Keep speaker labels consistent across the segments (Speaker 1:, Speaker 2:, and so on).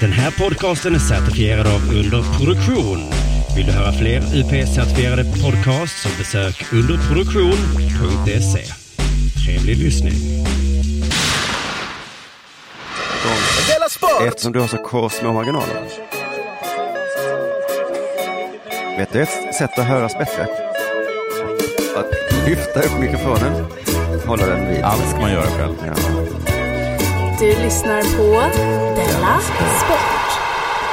Speaker 1: Den här podcasten är certifierad av Underproduktion. Vill du höra fler UP-certifierade podcasts så besök underproduktion.se. Trevlig lyssning.
Speaker 2: Della Sport!
Speaker 3: Eftersom du har så kort små marginaler. Vet du ett sätt att höras bättre? Att lyfta upp mikrofonen, hålla den vid.
Speaker 2: Allt ska man göra själv.
Speaker 3: Ja.
Speaker 4: Du lyssnar på Della Sport.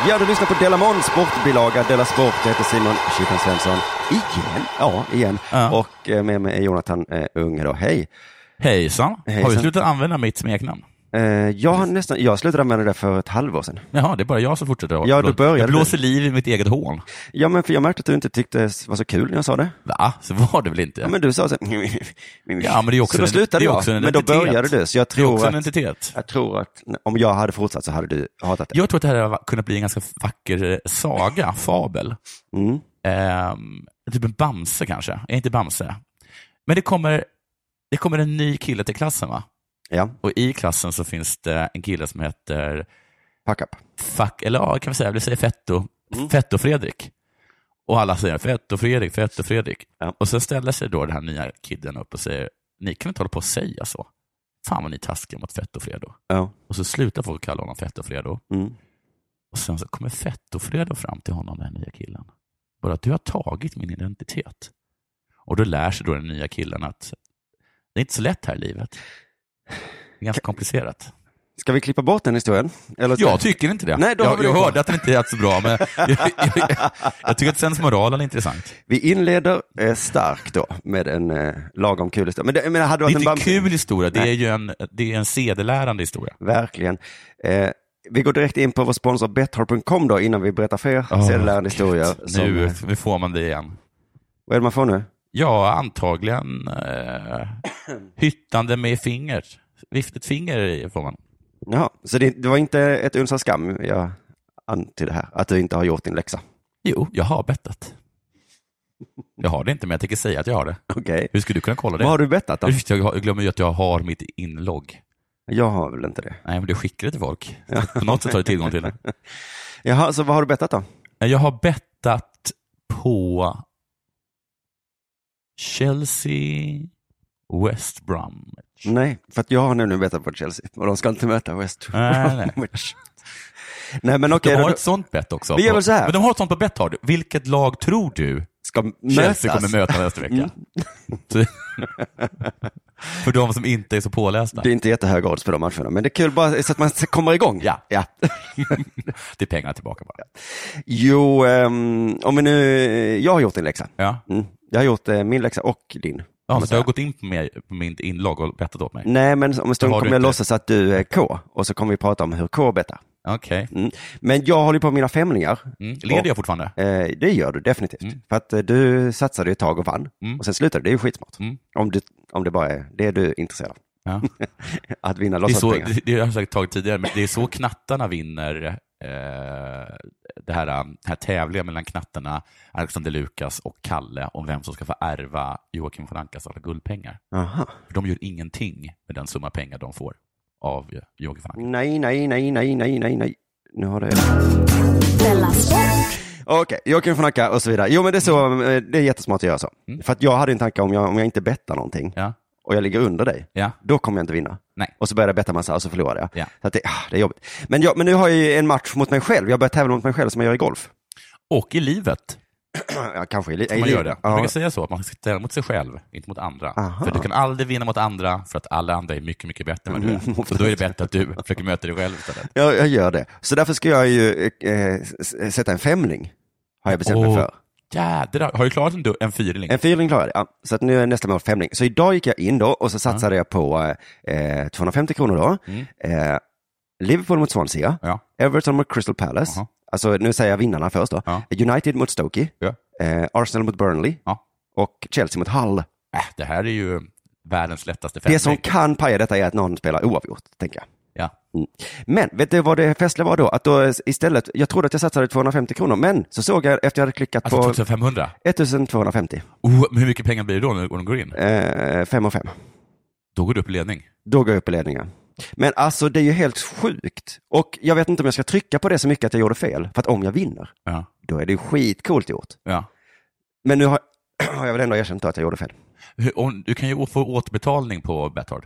Speaker 3: ja, du lyssnar på Della Mon sportbilaga. Della Sport, jag heter Simon Chippen Svensson. Igen? Ja, igen.
Speaker 2: Ja.
Speaker 3: Och eh, med mig är Jonathan eh, Unge då. Hej!
Speaker 2: Hejsan. Har vi
Speaker 3: Hejsan.
Speaker 2: slutat använda mitt smeknamn?
Speaker 3: Eh, jag, har nästan, jag slutade använda det för ett halvår sedan.
Speaker 2: Jaha, det är bara jag som fortsätter. att-
Speaker 3: Ja, du började
Speaker 2: Jag
Speaker 3: du.
Speaker 2: blåser liv i mitt eget hål.
Speaker 3: Ja, men för jag märkte att du inte tyckte det var så kul när jag sa det.
Speaker 2: Va? Så var det väl inte?
Speaker 3: Ja, men du sa så
Speaker 2: Ja, men det är
Speaker 3: Så
Speaker 2: också
Speaker 3: då
Speaker 2: en-
Speaker 3: slutade
Speaker 2: det är
Speaker 3: jag.
Speaker 2: också en
Speaker 3: Men då
Speaker 2: identitet.
Speaker 3: började du. Så jag
Speaker 2: det är också
Speaker 3: tror
Speaker 2: en
Speaker 3: att
Speaker 2: identitet.
Speaker 3: Jag tror att om jag hade fortsatt så hade du hatat det.
Speaker 2: Jag tror att det här har kunnat bli en ganska vacker eh, saga, fabel.
Speaker 3: Mm.
Speaker 2: Ehm, typ en Bamse kanske. Är inte Bamse? Men det kommer, det kommer en ny kille till klassen, va?
Speaker 3: Ja,
Speaker 2: Och i klassen så finns det en kille som heter
Speaker 3: pack up.
Speaker 2: fuck, eller ja, kan vi säga, vi säger Fetto,
Speaker 3: Mm.
Speaker 2: Fetto Fredrik. Och alla säger Fetto Fredrik, Fetto Fredrik.
Speaker 3: Ja.
Speaker 2: Och så ställer sig då den här nya kidden upp och säger, ni kan inte hålla på och säga så. Fan vad ni är taskiga mot Fetto Fredo.
Speaker 3: Ja.
Speaker 2: Och så slutar folk kalla honom Fetto Fredo.
Speaker 3: Mm.
Speaker 2: Och sen så kommer Fetto Fredo fram till honom, den här nya killen. Bara, du har tagit min identitet. Och då lär sig då den nya killen att det är inte så lätt här i livet. Det är ganska komplicerat.
Speaker 3: Ska vi klippa bort den historien? Eller
Speaker 2: Jag tycker inte det.
Speaker 3: Nej, då har
Speaker 2: jag
Speaker 3: vi det
Speaker 2: jag
Speaker 3: kvar.
Speaker 2: hörde att den inte är så bra, men jag, jag, jag tycker att sens moral är intressant.
Speaker 3: Vi inleder eh, starkt då med en eh, lagom kul historia. Men det, jag menar, hade
Speaker 2: Det
Speaker 3: varit
Speaker 2: är inte
Speaker 3: en
Speaker 2: en
Speaker 3: bam-
Speaker 2: kul historia, det
Speaker 3: Nej.
Speaker 2: är ju en, det är en sedelärande historia.
Speaker 3: Verkligen. Eh, vi går direkt in på vår sponsor Betthard.com då innan vi berättar fler
Speaker 2: Åh,
Speaker 3: sedelärande historier. Som,
Speaker 2: Nu,
Speaker 3: eh,
Speaker 2: nu får man det igen.
Speaker 3: vad är det man får nu?
Speaker 2: Ja, antagligen eh, hyttande med finger. Viftet finger i- får man.
Speaker 3: Jaha, så det, det var inte ett uns av skam jag antydde här, att du inte har gjort din läxa.
Speaker 2: Jo, jag har bettat. Jag har det inte, men jag tänker säga att jag har det.
Speaker 3: Okej.
Speaker 2: Hur skulle du kunna kolla det?
Speaker 3: Vad har du bettat då?
Speaker 2: Just, det, jag har- jag glömmer ju att jag har mitt inlogg.
Speaker 3: Jag har väl inte det.
Speaker 2: Nej, men du skickar det till folk. På något sätt har du tillgång till det.
Speaker 3: Jaha, så vad har du bettat då?
Speaker 2: Nej, Jag har bettat på Chelsea, West Bromwich.
Speaker 3: Nej, för att jag har nämligen bettat på Chelsea och de ska inte möta West
Speaker 2: Nej, nej.
Speaker 3: Bromwich. nej, men okej,
Speaker 2: de har
Speaker 3: de
Speaker 2: ett sånt bett också.
Speaker 3: Vi gör väl så här.
Speaker 2: Men de har ett sånt på Betthard. Vilket lag tror du
Speaker 3: ska
Speaker 2: Chelsea
Speaker 3: mötas. Mm.
Speaker 2: kommer möta nästa vecka? Så- För de som inte är så pålästa.
Speaker 3: Det är
Speaker 2: Det,
Speaker 3: inte jättehöga odds på de matcherna, men det är kul bara så att man kommer igång.
Speaker 2: Ja.
Speaker 3: ja.
Speaker 2: är pengar tillbaka bara.
Speaker 3: Jo, ehm, om vi nu, jag har gjort en läxa.
Speaker 2: Ja.
Speaker 3: Mm. Jag har gjort eh, min läxa och din.
Speaker 2: Ja, så du har gått in på, mig, på mitt inlogg och bettat åt mig?
Speaker 3: Nej, men om en stund
Speaker 2: har du
Speaker 3: kommer jag
Speaker 2: inte.
Speaker 3: låtsas att du är K och så kommer vi prata om hur K bettar.
Speaker 2: Okej.
Speaker 3: Mm. Men jag håller på med mina femlingar.
Speaker 2: Mm. Leder jag fortfarande?
Speaker 3: Eh, det gör du definitivt. För att eh, du satsade ett tag och vann.
Speaker 2: Mm.
Speaker 3: Och sen slutade du. Det är ju skitsmart.
Speaker 2: Mm.
Speaker 3: Om, du, om det bara är det du är intresserad av.
Speaker 2: Ja.
Speaker 3: Att vinna
Speaker 2: Det, är så,
Speaker 3: låtsaspengar.
Speaker 2: det, det har jag säkert tagit tidigare, men det är så knattarna vinner eh, det här, den här tävlingen mellan knattarna Alexander Lukas och Kalle om vem som ska få ärva Joakim von Ankas alla guldpengar.
Speaker 3: Aha.
Speaker 2: För de gör ingenting med den summa pengar de får av Joakim von Anka.
Speaker 3: Nej, nej, nej, nej, nej, nej, nej. Nu har det...
Speaker 4: Della Sport.
Speaker 3: Okej, Joakim von Anka och så vidare. Jo, men det är, så, eh, det är jättesmart att göra så.
Speaker 2: Mm.
Speaker 3: För att jag hade en tanke om jag, om jag inte bettar någonting
Speaker 2: Ja,
Speaker 3: och jag ligger under dig,
Speaker 2: ja,
Speaker 3: då kommer jag inte vinna.
Speaker 2: nej.
Speaker 3: Och så började jag betta massa och så förlorade jag.
Speaker 2: Ja.
Speaker 3: Så att det, ah, det är jobbigt. Men, jag, men nu har jag ju en match mot mig själv. Jag börjar tävla mot mig själv som jag gör i golf.
Speaker 2: Och i livet
Speaker 3: ja, kanske i li-
Speaker 2: får man
Speaker 3: i
Speaker 2: göra det.
Speaker 3: livet.
Speaker 2: Man brukar
Speaker 3: Ja.
Speaker 2: säga så, att man ska tävla mot sig själv, inte mot andra.
Speaker 3: Aha.
Speaker 2: För du kan aldrig vinna mot andra, för att alla andra är mycket, mycket bättre än vad du
Speaker 3: Mm,
Speaker 2: är. Så då är det bättre att du försöker möta dig själv istället.
Speaker 3: Jag, jag gör det. Så därför ska jag ju eh, s- sätta en femling. Har jag bestämt mig
Speaker 2: Åh,
Speaker 3: för.
Speaker 2: Jädrar, har du klarat en, du- en fyrling?
Speaker 3: En fyrling klarade jag, ja. Så att nu är nästa mål femling. Så idag gick jag in då och så satsade jag på eh, 250 kronor då.
Speaker 2: Mm.
Speaker 3: Eh, Liverpool mot Swansea,
Speaker 2: Ja.
Speaker 3: Everton mot Crystal Palace.
Speaker 2: Aha.
Speaker 3: Alltså nu säger jag vinnarna först då.
Speaker 2: Ja.
Speaker 3: United mot Stoke,
Speaker 2: Ja.
Speaker 3: eh, Arsenal mot Burnley
Speaker 2: Ja.
Speaker 3: och Chelsea mot Hull.
Speaker 2: Äh, det här är ju världens lättaste
Speaker 3: Det som
Speaker 2: femling.
Speaker 3: kan paja detta är att någon spelar oavgjort, tänker jag.
Speaker 2: Ja.
Speaker 3: Mm. Men vet du vad det festliga var då? Att då istället, jag trodde att jag satsade 250 kronor, men så såg jag efter jag hade klickat
Speaker 2: Alltså
Speaker 3: på
Speaker 2: 2500.
Speaker 3: 1250,
Speaker 2: Oh, men hur mycket pengar blir det då när de går in?
Speaker 3: eh, 5 och 5.
Speaker 2: Då går du upp i ledning.
Speaker 3: Då går jag upp i ledningen. Men alltså det är ju helt sjukt. Och jag vet inte om jag ska trycka på det så mycket att jag gjorde fel. För att om jag vinner,
Speaker 2: Ja.
Speaker 3: då är det ju skitcoolt gjort.
Speaker 2: ja.
Speaker 3: Men nu har, har jag väl ändå erkänt då att jag gjorde fel.
Speaker 2: Hur- om- Du kan ju få återbetalning på Betthard.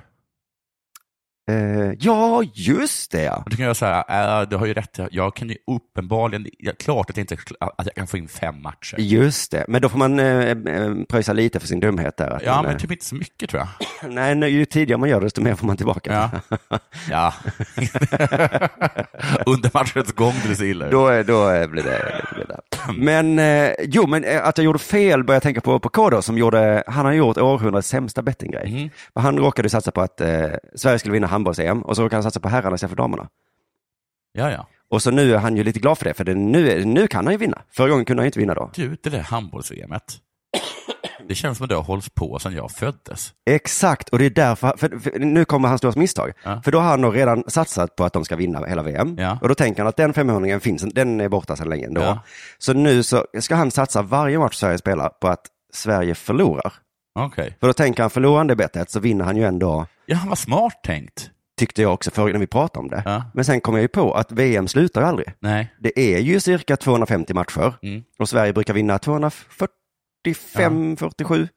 Speaker 3: Eh, ja, just det ja.
Speaker 2: Och Du kan göra så här, äh, du har ju rätt, jag kan ju uppenbarligen, ja, klart att, jag inte, att jag kan få in fem matcher.
Speaker 3: Just det. Men då får man eh, eh, pröjsa lite för sin dumhet där. Att
Speaker 2: Ja,
Speaker 3: man,
Speaker 2: men
Speaker 3: eh,
Speaker 2: typ inte så mycket tror jag.
Speaker 3: Nej, nu- ju tidigare man gör det, desto mer får man tillbaka.
Speaker 2: Ja. ja. Under matchens gång du ser illa ut.
Speaker 3: Då, är- då eh, blir det lite blir det. Men, eh, jo, men eh, att jag gjorde fel börjar jag tänka på på K då, som gjorde, han har gjort århundradets sämsta bettinggrej.
Speaker 2: Mhm.
Speaker 3: Men Han råkade ju satsa på att eh, Sverige skulle vinna handbolls-EM och så råkade han satsa på herrarna istället för damerna.
Speaker 2: Ja, ja.
Speaker 3: Och så nu är han ju lite glad för det, för det, nu, är- nu kan han ju vinna. Förra gången kunde han ju inte vinna då.
Speaker 2: Du, det där handbolls Det känns som att det har hållits på sedan jag föddes.
Speaker 3: Exakt, och det är därför, för, för, nu kommer hans stora misstag.
Speaker 2: Ja.
Speaker 3: För då har han nog redan satsat på att de ska vinna hela VM.
Speaker 2: Ja.
Speaker 3: Och då tänker han att den 500 finns, den är borta sedan länge ändå.
Speaker 2: Ja.
Speaker 3: Så nu så ska han satsa varje match Sverige spelar på att Sverige förlorar.
Speaker 2: Okej.
Speaker 3: För då tänker han, förlorar han det bettet så vinner han ju ändå,
Speaker 2: Ja, han var smart tänkt.
Speaker 3: tyckte jag också förr när vi pratade om det.
Speaker 2: Ja.
Speaker 3: Men sen kom jag ju på att VM slutar ju aldrig.
Speaker 2: Nej.
Speaker 3: Det är ju cirka 250 matcher
Speaker 2: Mm.
Speaker 3: och Sverige brukar vinna 245, 47.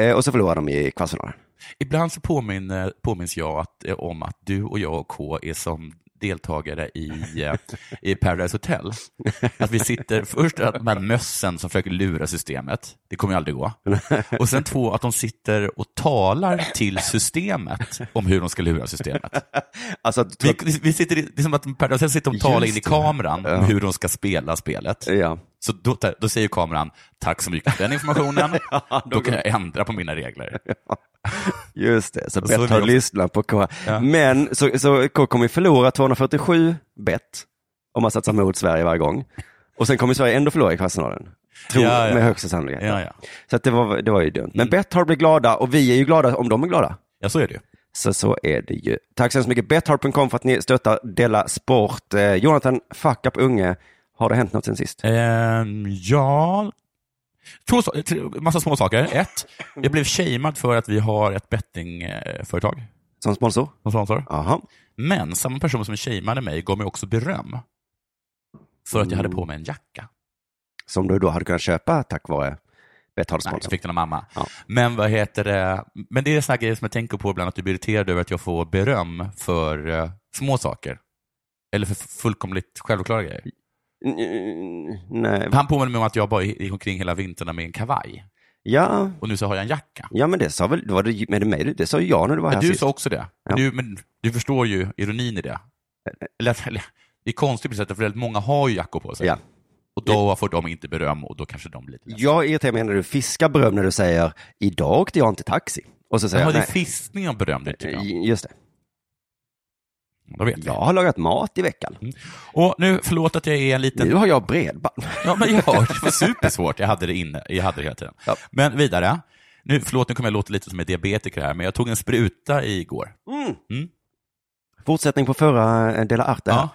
Speaker 3: Eh, och så förlorar de i kvartsfinalen.
Speaker 2: Ibland så påminner, påminns jag att, eh, om att du och jag och K är som deltagare i, eh, i Paradise Hotel. Att vi sitter, först att de här mössen som försöker lura systemet, det kommer ju aldrig gå. Och sen två, att de sitter och talar till systemet om hur de ska lura systemet.
Speaker 3: Alltså, att-
Speaker 2: Vi, vi sitter, i- det är som att Paradise Hotel sitter och talar in i
Speaker 3: Just det.
Speaker 2: kameran
Speaker 3: Ja.
Speaker 2: om hur de ska spela spelet.
Speaker 3: ja.
Speaker 2: Så då, då säger kameran, tack så mycket för den informationen, då kan jag ändra på mina regler.
Speaker 3: Just det, så
Speaker 2: så är
Speaker 3: bett
Speaker 2: vi
Speaker 3: har
Speaker 2: också.
Speaker 3: lyssnat på K.
Speaker 2: Ja.
Speaker 3: Men så, så K kommer ju förlora 247 bett om man satsar mot Sverige varje gång. Och sen kommer Sverige ändå förlora i kvartsfinalen. Tror
Speaker 2: Ja, ja.
Speaker 3: med högsta sannolikhet.
Speaker 2: Ja, ja.
Speaker 3: Så att det, var, det var ju dumt.
Speaker 2: Mm.
Speaker 3: Men bett har blivit glada och vi är ju glada om de är glada.
Speaker 2: ja, så är det ju.
Speaker 3: Så så är det ju. Tack så hemskt mycket Betthard.com för att ni stöttar Della Sport. Eh, Jonathan, fuck up unge. Har det hänt något sen sist?
Speaker 2: Ehm, ja, två, sa- tre- massa små saker. Ett, jag blev shamed för att vi har ett bettingföretag
Speaker 3: Som sponsor?
Speaker 2: som sponsor.
Speaker 3: Jaha.
Speaker 2: Men samma person som shameade mig gav mig också beröm för att jag hade på mig en jacka.
Speaker 3: Som du då hade kunnat köpa tack vare
Speaker 2: Nej, så
Speaker 3: Betthard-sponsorn.
Speaker 2: fick den av mamma.
Speaker 3: Ja.
Speaker 2: Men vad heter det? Men det är sådana grejer som jag tänker på ibland, att du blir irriterad över att jag får beröm för eh, små saker. Eller för fullkomligt självklara grejer.
Speaker 3: Mm, mm, Nej.
Speaker 2: Han påminner mig om att jag bara gick omkring hela vintern med en kavaj.
Speaker 3: Ja,
Speaker 2: Och nu så har jag en jacka.
Speaker 3: Ja, men det sa väl, var det, men det, mig, det sa ju jag när du var här
Speaker 2: du
Speaker 3: sist.
Speaker 2: sa också det.
Speaker 3: Ja.
Speaker 2: Du, men du förstår ju ironin i det. Eller, att- eller, det är konstigt på sätt för väldigt många har ju jackor på sig.
Speaker 3: Ja.
Speaker 2: Och då får de inte beröm och då kanske de blir lite ledsna.
Speaker 3: Jag irriterar mig när du fiskar beröm när du säger, idag åkte jag inte taxi. Och så säger
Speaker 2: Jaha,
Speaker 3: jag,
Speaker 2: det är
Speaker 3: nej,
Speaker 2: fiskning av beröm du tycker om.
Speaker 3: j- just det.
Speaker 2: Då vet
Speaker 3: Jag
Speaker 2: jag.
Speaker 3: har lagat mat i veckan.
Speaker 2: Och nu, förlåt att jag är en liten...
Speaker 3: Nu har jag bredband.
Speaker 2: Ja, men jag har, det var supersvårt. Jag hade det inne, jag hade det hela tiden.
Speaker 3: Ja.
Speaker 2: Men vidare. Nu, förlåt, nu kommer jag låta lite som en diabetiker här, men jag tog en spruta igår.
Speaker 3: Mm.
Speaker 2: Mm.
Speaker 3: Fortsättning på förra eh, Dela Arte. här.
Speaker 2: Ja.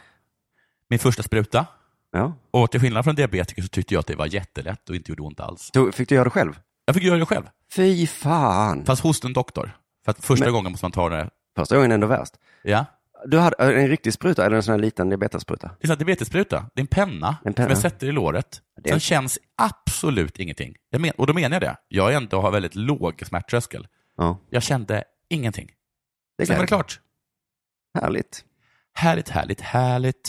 Speaker 2: Min första spruta.
Speaker 3: Ja.
Speaker 2: Och till skillnad från diabetiker så tyckte jag att det var jättelätt och inte gjorde ont alls.
Speaker 3: Då Fick du göra det själv?
Speaker 2: Jag fick göra det själv.
Speaker 3: Fy fan.
Speaker 2: Fast hos en doktor. För att första
Speaker 3: Men-
Speaker 2: gången måste man ta det.
Speaker 3: Första gången ändå värst.
Speaker 2: Ja.
Speaker 3: Du hade eh, en riktig spruta, eller en sån här liten diabetesspruta.
Speaker 2: Det är en diabetesspruta. Det är en penna,
Speaker 3: En penna.
Speaker 2: som jag sätter i låret.
Speaker 3: Det-
Speaker 2: Sen känns absolut ingenting. Jag men, och då menar jag det. Jag är ändå har väldigt låg smärttröskel.
Speaker 3: Ja,
Speaker 2: Jag kände ingenting.
Speaker 3: det
Speaker 2: Sen var
Speaker 3: är
Speaker 2: det
Speaker 3: klart.
Speaker 2: klart.
Speaker 3: Härligt.
Speaker 2: Härligt, härligt, härligt.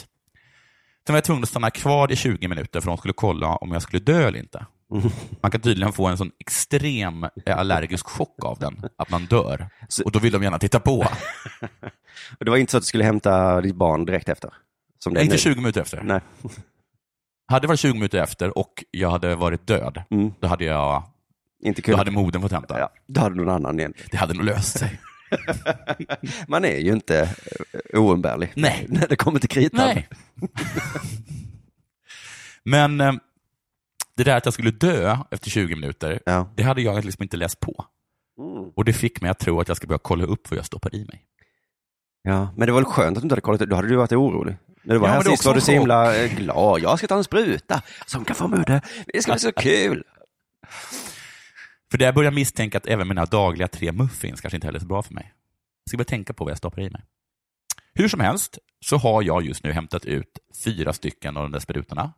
Speaker 2: Sen var jag tvungen att stanna kvar i 20 minuter för de skulle kolla om jag skulle dö eller inte. Man kan tydligen få en sån extrem eh, allergisk chock av den, att man dör.
Speaker 3: Så-
Speaker 2: Och då vill de gärna titta på.
Speaker 3: Och Det var inte så att du skulle hämta ditt barn direkt efter? Som det är
Speaker 2: Inte
Speaker 3: nu.
Speaker 2: 20 minuter efter.
Speaker 3: Nej.
Speaker 2: Hade det varit 20 minuter efter och jag hade varit död,
Speaker 3: Mm.
Speaker 2: då hade jag
Speaker 3: Inte kul.
Speaker 2: då hade moden fått hämta.
Speaker 3: Ja, då hade någon annan igen.
Speaker 2: Det hade nog löst sig.
Speaker 3: Man är ju inte eh, oumbärlig.
Speaker 2: Nej.
Speaker 3: När det kommer till kritan.
Speaker 2: Nej. Men eh, det där att jag skulle dö efter 20 minuter,
Speaker 3: Ja.
Speaker 2: det hade jag liksom inte läst på.
Speaker 3: Mm.
Speaker 2: Och det fick mig att tro att jag ska börja kolla upp vad jag stoppar i mig.
Speaker 3: ja. Men det var väl skönt att du inte hade kollat upp. Då hade du varit orolig. När du var
Speaker 2: Ja,
Speaker 3: här
Speaker 2: men det är
Speaker 3: sist var
Speaker 2: också
Speaker 3: du så
Speaker 2: en
Speaker 3: himla eh, glad. Jag ska ta en spruta som kan få mig det. Det ska bli så kul.
Speaker 2: För där började jag misstänka att även mina dagliga tre muffins kanske inte heller är så bra för mig. Ska bara tänka på vad jag stoppar i mig. Hur som helst så har jag just nu hämtat ut fyra stycken av de där sprutorna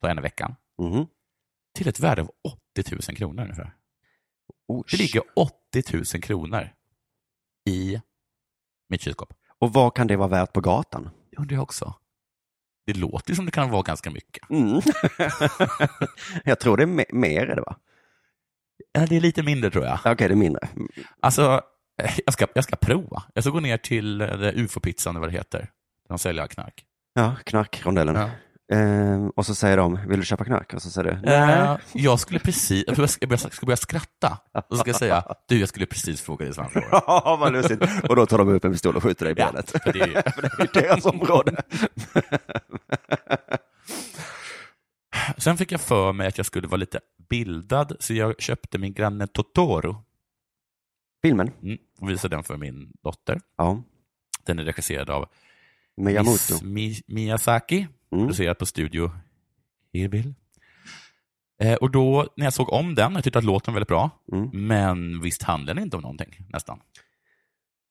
Speaker 2: på en i veckan
Speaker 3: Mhm.
Speaker 2: till ett värde av 80 000 kronor ungefär.
Speaker 3: Oh,
Speaker 2: Det
Speaker 3: shit.
Speaker 2: ligger 80 000 kronor i mitt kylskåp.
Speaker 3: Och vad kan det vara värt på gatan?
Speaker 2: Det undrar jag också. Det låter ju som det kan vara ganska mycket.
Speaker 3: Mm. jag tror det är me- mer, är det va?
Speaker 2: Ja, Det är lite mindre tror jag.
Speaker 3: Okej, det är mindre.
Speaker 2: Alltså, eh, jag ska, jag ska prova. Jag ska gå ner till eh, det ufo-pizzan eller vad det heter. Där de säljer knark.
Speaker 3: Ja, knarkrondellen. Eh, och så säger de, vill du köpa knark? Och så säger du,
Speaker 2: Eh, Jag skulle precis, jag tror jag ska, jag ska börja skratta. Och så ska jag säga, du jag skulle precis fråga dig samma fråga.
Speaker 3: ja, vad lustigt. Och då tar de upp en pistol och skjuter dig i
Speaker 2: Ja,
Speaker 3: benet.
Speaker 2: för det är ju-
Speaker 3: För det är deras område.
Speaker 2: Sen fick jag för mig att jag skulle vara lite bildad, så jag köpte min granne Totoro
Speaker 3: Filmen?
Speaker 2: mm, och visade den för min dotter.
Speaker 3: Ja.
Speaker 2: Den är regisserad av
Speaker 3: Miyamoto.
Speaker 2: Miss Mi- Miyazaki,
Speaker 3: Mm.
Speaker 2: producerad på studio Hirbil. Eh, och då, när jag såg om den, jag tyckte att låten var väldigt bra,
Speaker 3: Mm.
Speaker 2: men visst handlar den inte om någonting, nästan.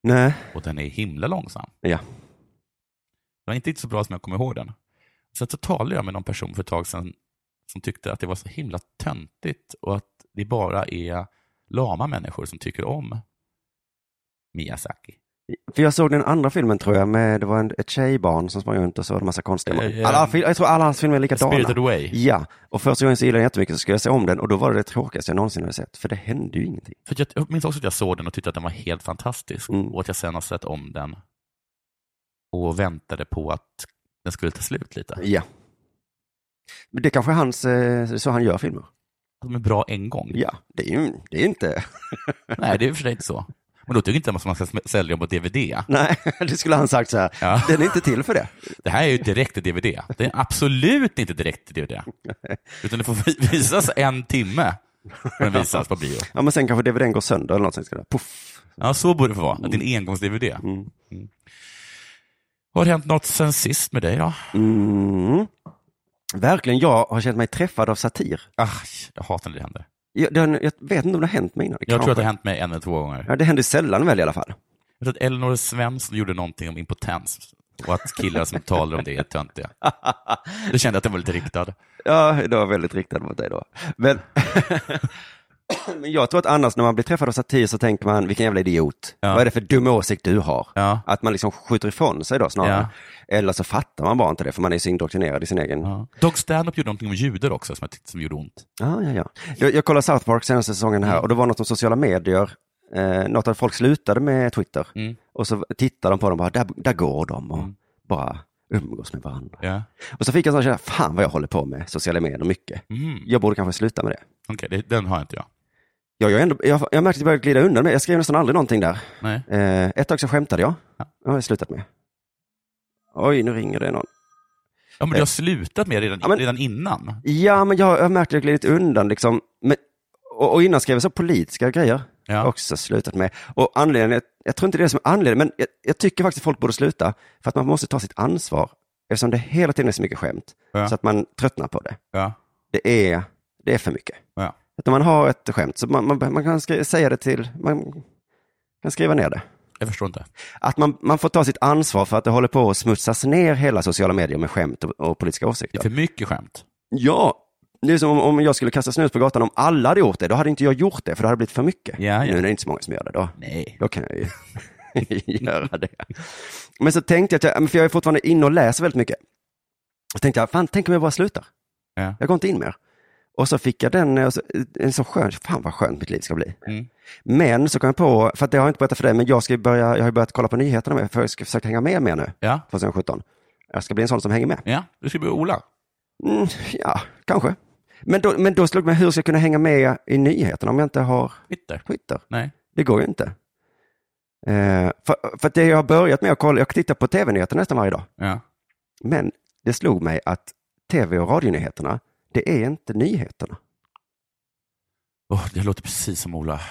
Speaker 3: Nej,
Speaker 2: Och den är himla långsam.
Speaker 3: ja.
Speaker 2: Den var inte riktigt så bra som jag kommer ihåg den. Sen så talade jag med någon person för ett tag sedan som tyckte att det var så himla töntigt och att det bara är lama människor som tycker om Miyazaki.
Speaker 3: För jag såg den andra filmen tror jag, med, det var en, ett tjejbarn som sprang runt och så var det en massa konstiga
Speaker 2: Eh,
Speaker 3: äh,
Speaker 2: eh,
Speaker 3: alla, fil- Jag tror alla hans filmer är
Speaker 2: Spirited
Speaker 3: likadana.
Speaker 2: Away.
Speaker 3: Ja, och första gången så gillade jag den jättemycket så skulle jag se om den och då var det det tråkigaste jag någonsin hade sett, för det hände ju ingenting.
Speaker 2: För att jag, jag minns också att jag såg den och tyckte att den var helt fantastisk
Speaker 3: Mm.
Speaker 2: och att jag sen har sett om den och väntade på att den skulle ta slut lite.
Speaker 3: Ja. Men det kanske är hans, eh, så han gör filmer.
Speaker 2: De är bra en gång.
Speaker 3: Ja, det är ju det är ju inte,
Speaker 2: Nej, det är i och för sig inte så. Men då tycker inte jag att man ska sm- sälja dem på DVD.
Speaker 3: nej, det skulle han sagt så här,
Speaker 2: Ja.
Speaker 3: den är inte till för det.
Speaker 2: Det här är ju direkt till DVD. Det är absolut inte direkt till DVD. Utan det får vi- visas en timme när den visas på bio.
Speaker 3: Ja, men sen kanske DVDn går sönder eller något sånt, sådär. puff.
Speaker 2: Ja, så borde det få vara. Att det är en engångs-DVD.
Speaker 3: Mm.
Speaker 2: Har det hänt något sen sist med dig då?
Speaker 3: Mm. Verkligen, jag har känt mig träffad av satir.
Speaker 2: Ah, jag hatar när det händer.
Speaker 3: Jag, den, jag vet inte om det har hänt mig innan.
Speaker 2: Jag tror
Speaker 3: Kanske.
Speaker 2: att det har hänt mig en eller två gånger.
Speaker 3: Ja, det händer sällan väl i alla fall.
Speaker 2: Jag tror att Elinor Svensson gjorde någonting om impotens och att killar som talar om det är töntiga. Då kände jag att den var lite riktad.
Speaker 3: Ja, det var väldigt riktat mot dig då. Men, men jag tror att annars när man blir träffad av satir så tänker man, vilken jävla idiot.
Speaker 2: Ja.
Speaker 3: Vad är det för dum åsikt du har?
Speaker 2: Ja.
Speaker 3: Att man liksom skjuter ifrån sig då snarare. Eller så fattar man bara inte det för man är så indoktrinerad i sin egen... Ja,
Speaker 2: Ja. Dog Stanhope gjorde någonting om judar också som jag tyckte som gjorde ont.
Speaker 3: ja, ja. Jag, jag kollade South Park senaste säsongen
Speaker 2: Mm.
Speaker 3: här och det var något om sociala medier. Eh, något att folk slutade med Twitter.
Speaker 2: Mm.
Speaker 3: Och så tittar de på dem bara, där, där går de och
Speaker 2: Mm.
Speaker 3: bara umgås med varandra.
Speaker 2: Ja.
Speaker 3: Och så fick jag en sån känsla, fan vad jag håller på med sociala medier mycket.
Speaker 2: Mm.
Speaker 3: Jag borde kanske sluta med det.
Speaker 2: Okej, det- den har inte jag.
Speaker 3: Ja, jag, ändå, jag, jag märkte att jag började glida undan med Jag skrev nästan aldrig någonting där.
Speaker 2: Nej.
Speaker 3: Eh, ett tag så skämtade jag.
Speaker 2: Ja.
Speaker 3: Det har jag slutat med. Oj, nu ringer det någon.
Speaker 2: Ja, men du har slutat med det redan,
Speaker 3: Ja, men-
Speaker 2: redan innan.
Speaker 3: Ja, men jag, jag märkte att jag glidit undan liksom. Men, och, och innan skrev jag så politiska grejer.
Speaker 2: Ja.
Speaker 3: Också slutat med. Och anledningen, jag, jag tror inte det är det som är anledningen, men jag, jag tycker faktiskt att folk borde sluta. För att man måste ta sitt ansvar. Eftersom det hela tiden är så mycket skämt.
Speaker 2: Ja.
Speaker 3: Så att man tröttnar på det.
Speaker 2: Ja.
Speaker 3: Det är, det är för mycket.
Speaker 2: Ja.
Speaker 3: Att när man har ett skämt, så man, man, man kan skri- säga det till, man kan skriva ner det.
Speaker 2: Jag förstår inte.
Speaker 3: Att man, man får ta sitt ansvar för att det håller på att smutsas ner hela sociala medier med skämt och, och politiska
Speaker 2: Det är
Speaker 3: åsikter.
Speaker 2: för mycket skämt.
Speaker 3: Ja, det är som om, om jag skulle kasta snus på gatan, om alla hade gjort det, då hade inte jag gjort det, för det hade blivit för mycket.
Speaker 2: Ja, ja.
Speaker 3: Nu är det inte så många som gör det, då,
Speaker 2: Nej.
Speaker 3: då kan jag ju göra det. Men så tänkte jag, att jag, men för jag är fortfarande inne och läser väldigt mycket. Så tänkte jag, fan, tänk om jag bara slutar.
Speaker 2: Ja.
Speaker 3: Jag går inte in mer. Och så fick jag den, och så, en så skön, fan vad skönt mitt liv ska bli.
Speaker 2: Mm.
Speaker 3: Men så kom jag på, för att det har jag inte berättat för dig, men jag, ska ju börja, jag har ju börjat kolla på nyheterna med, för jag ska försöka hänga med mer nu,
Speaker 2: Ja.
Speaker 3: 2017. Jag ska bli en sån som hänger med.
Speaker 2: ja, du ska bli Ola.
Speaker 3: Mm, ja, kanske. Men då, men då slog det mig, hur ska jag kunna hänga med i nyheterna om jag inte har
Speaker 2: Twitter.
Speaker 3: Twitter?
Speaker 2: Nej.
Speaker 3: Det går ju inte. Eh, för, för att det jag har börjat med att kolla, jag tittar på tv-nyheterna nästan varje dag,
Speaker 2: Ja.
Speaker 3: men det slog mig att tv och radionyheterna, det är inte nyheterna.
Speaker 2: Åh, det låter precis som Ola.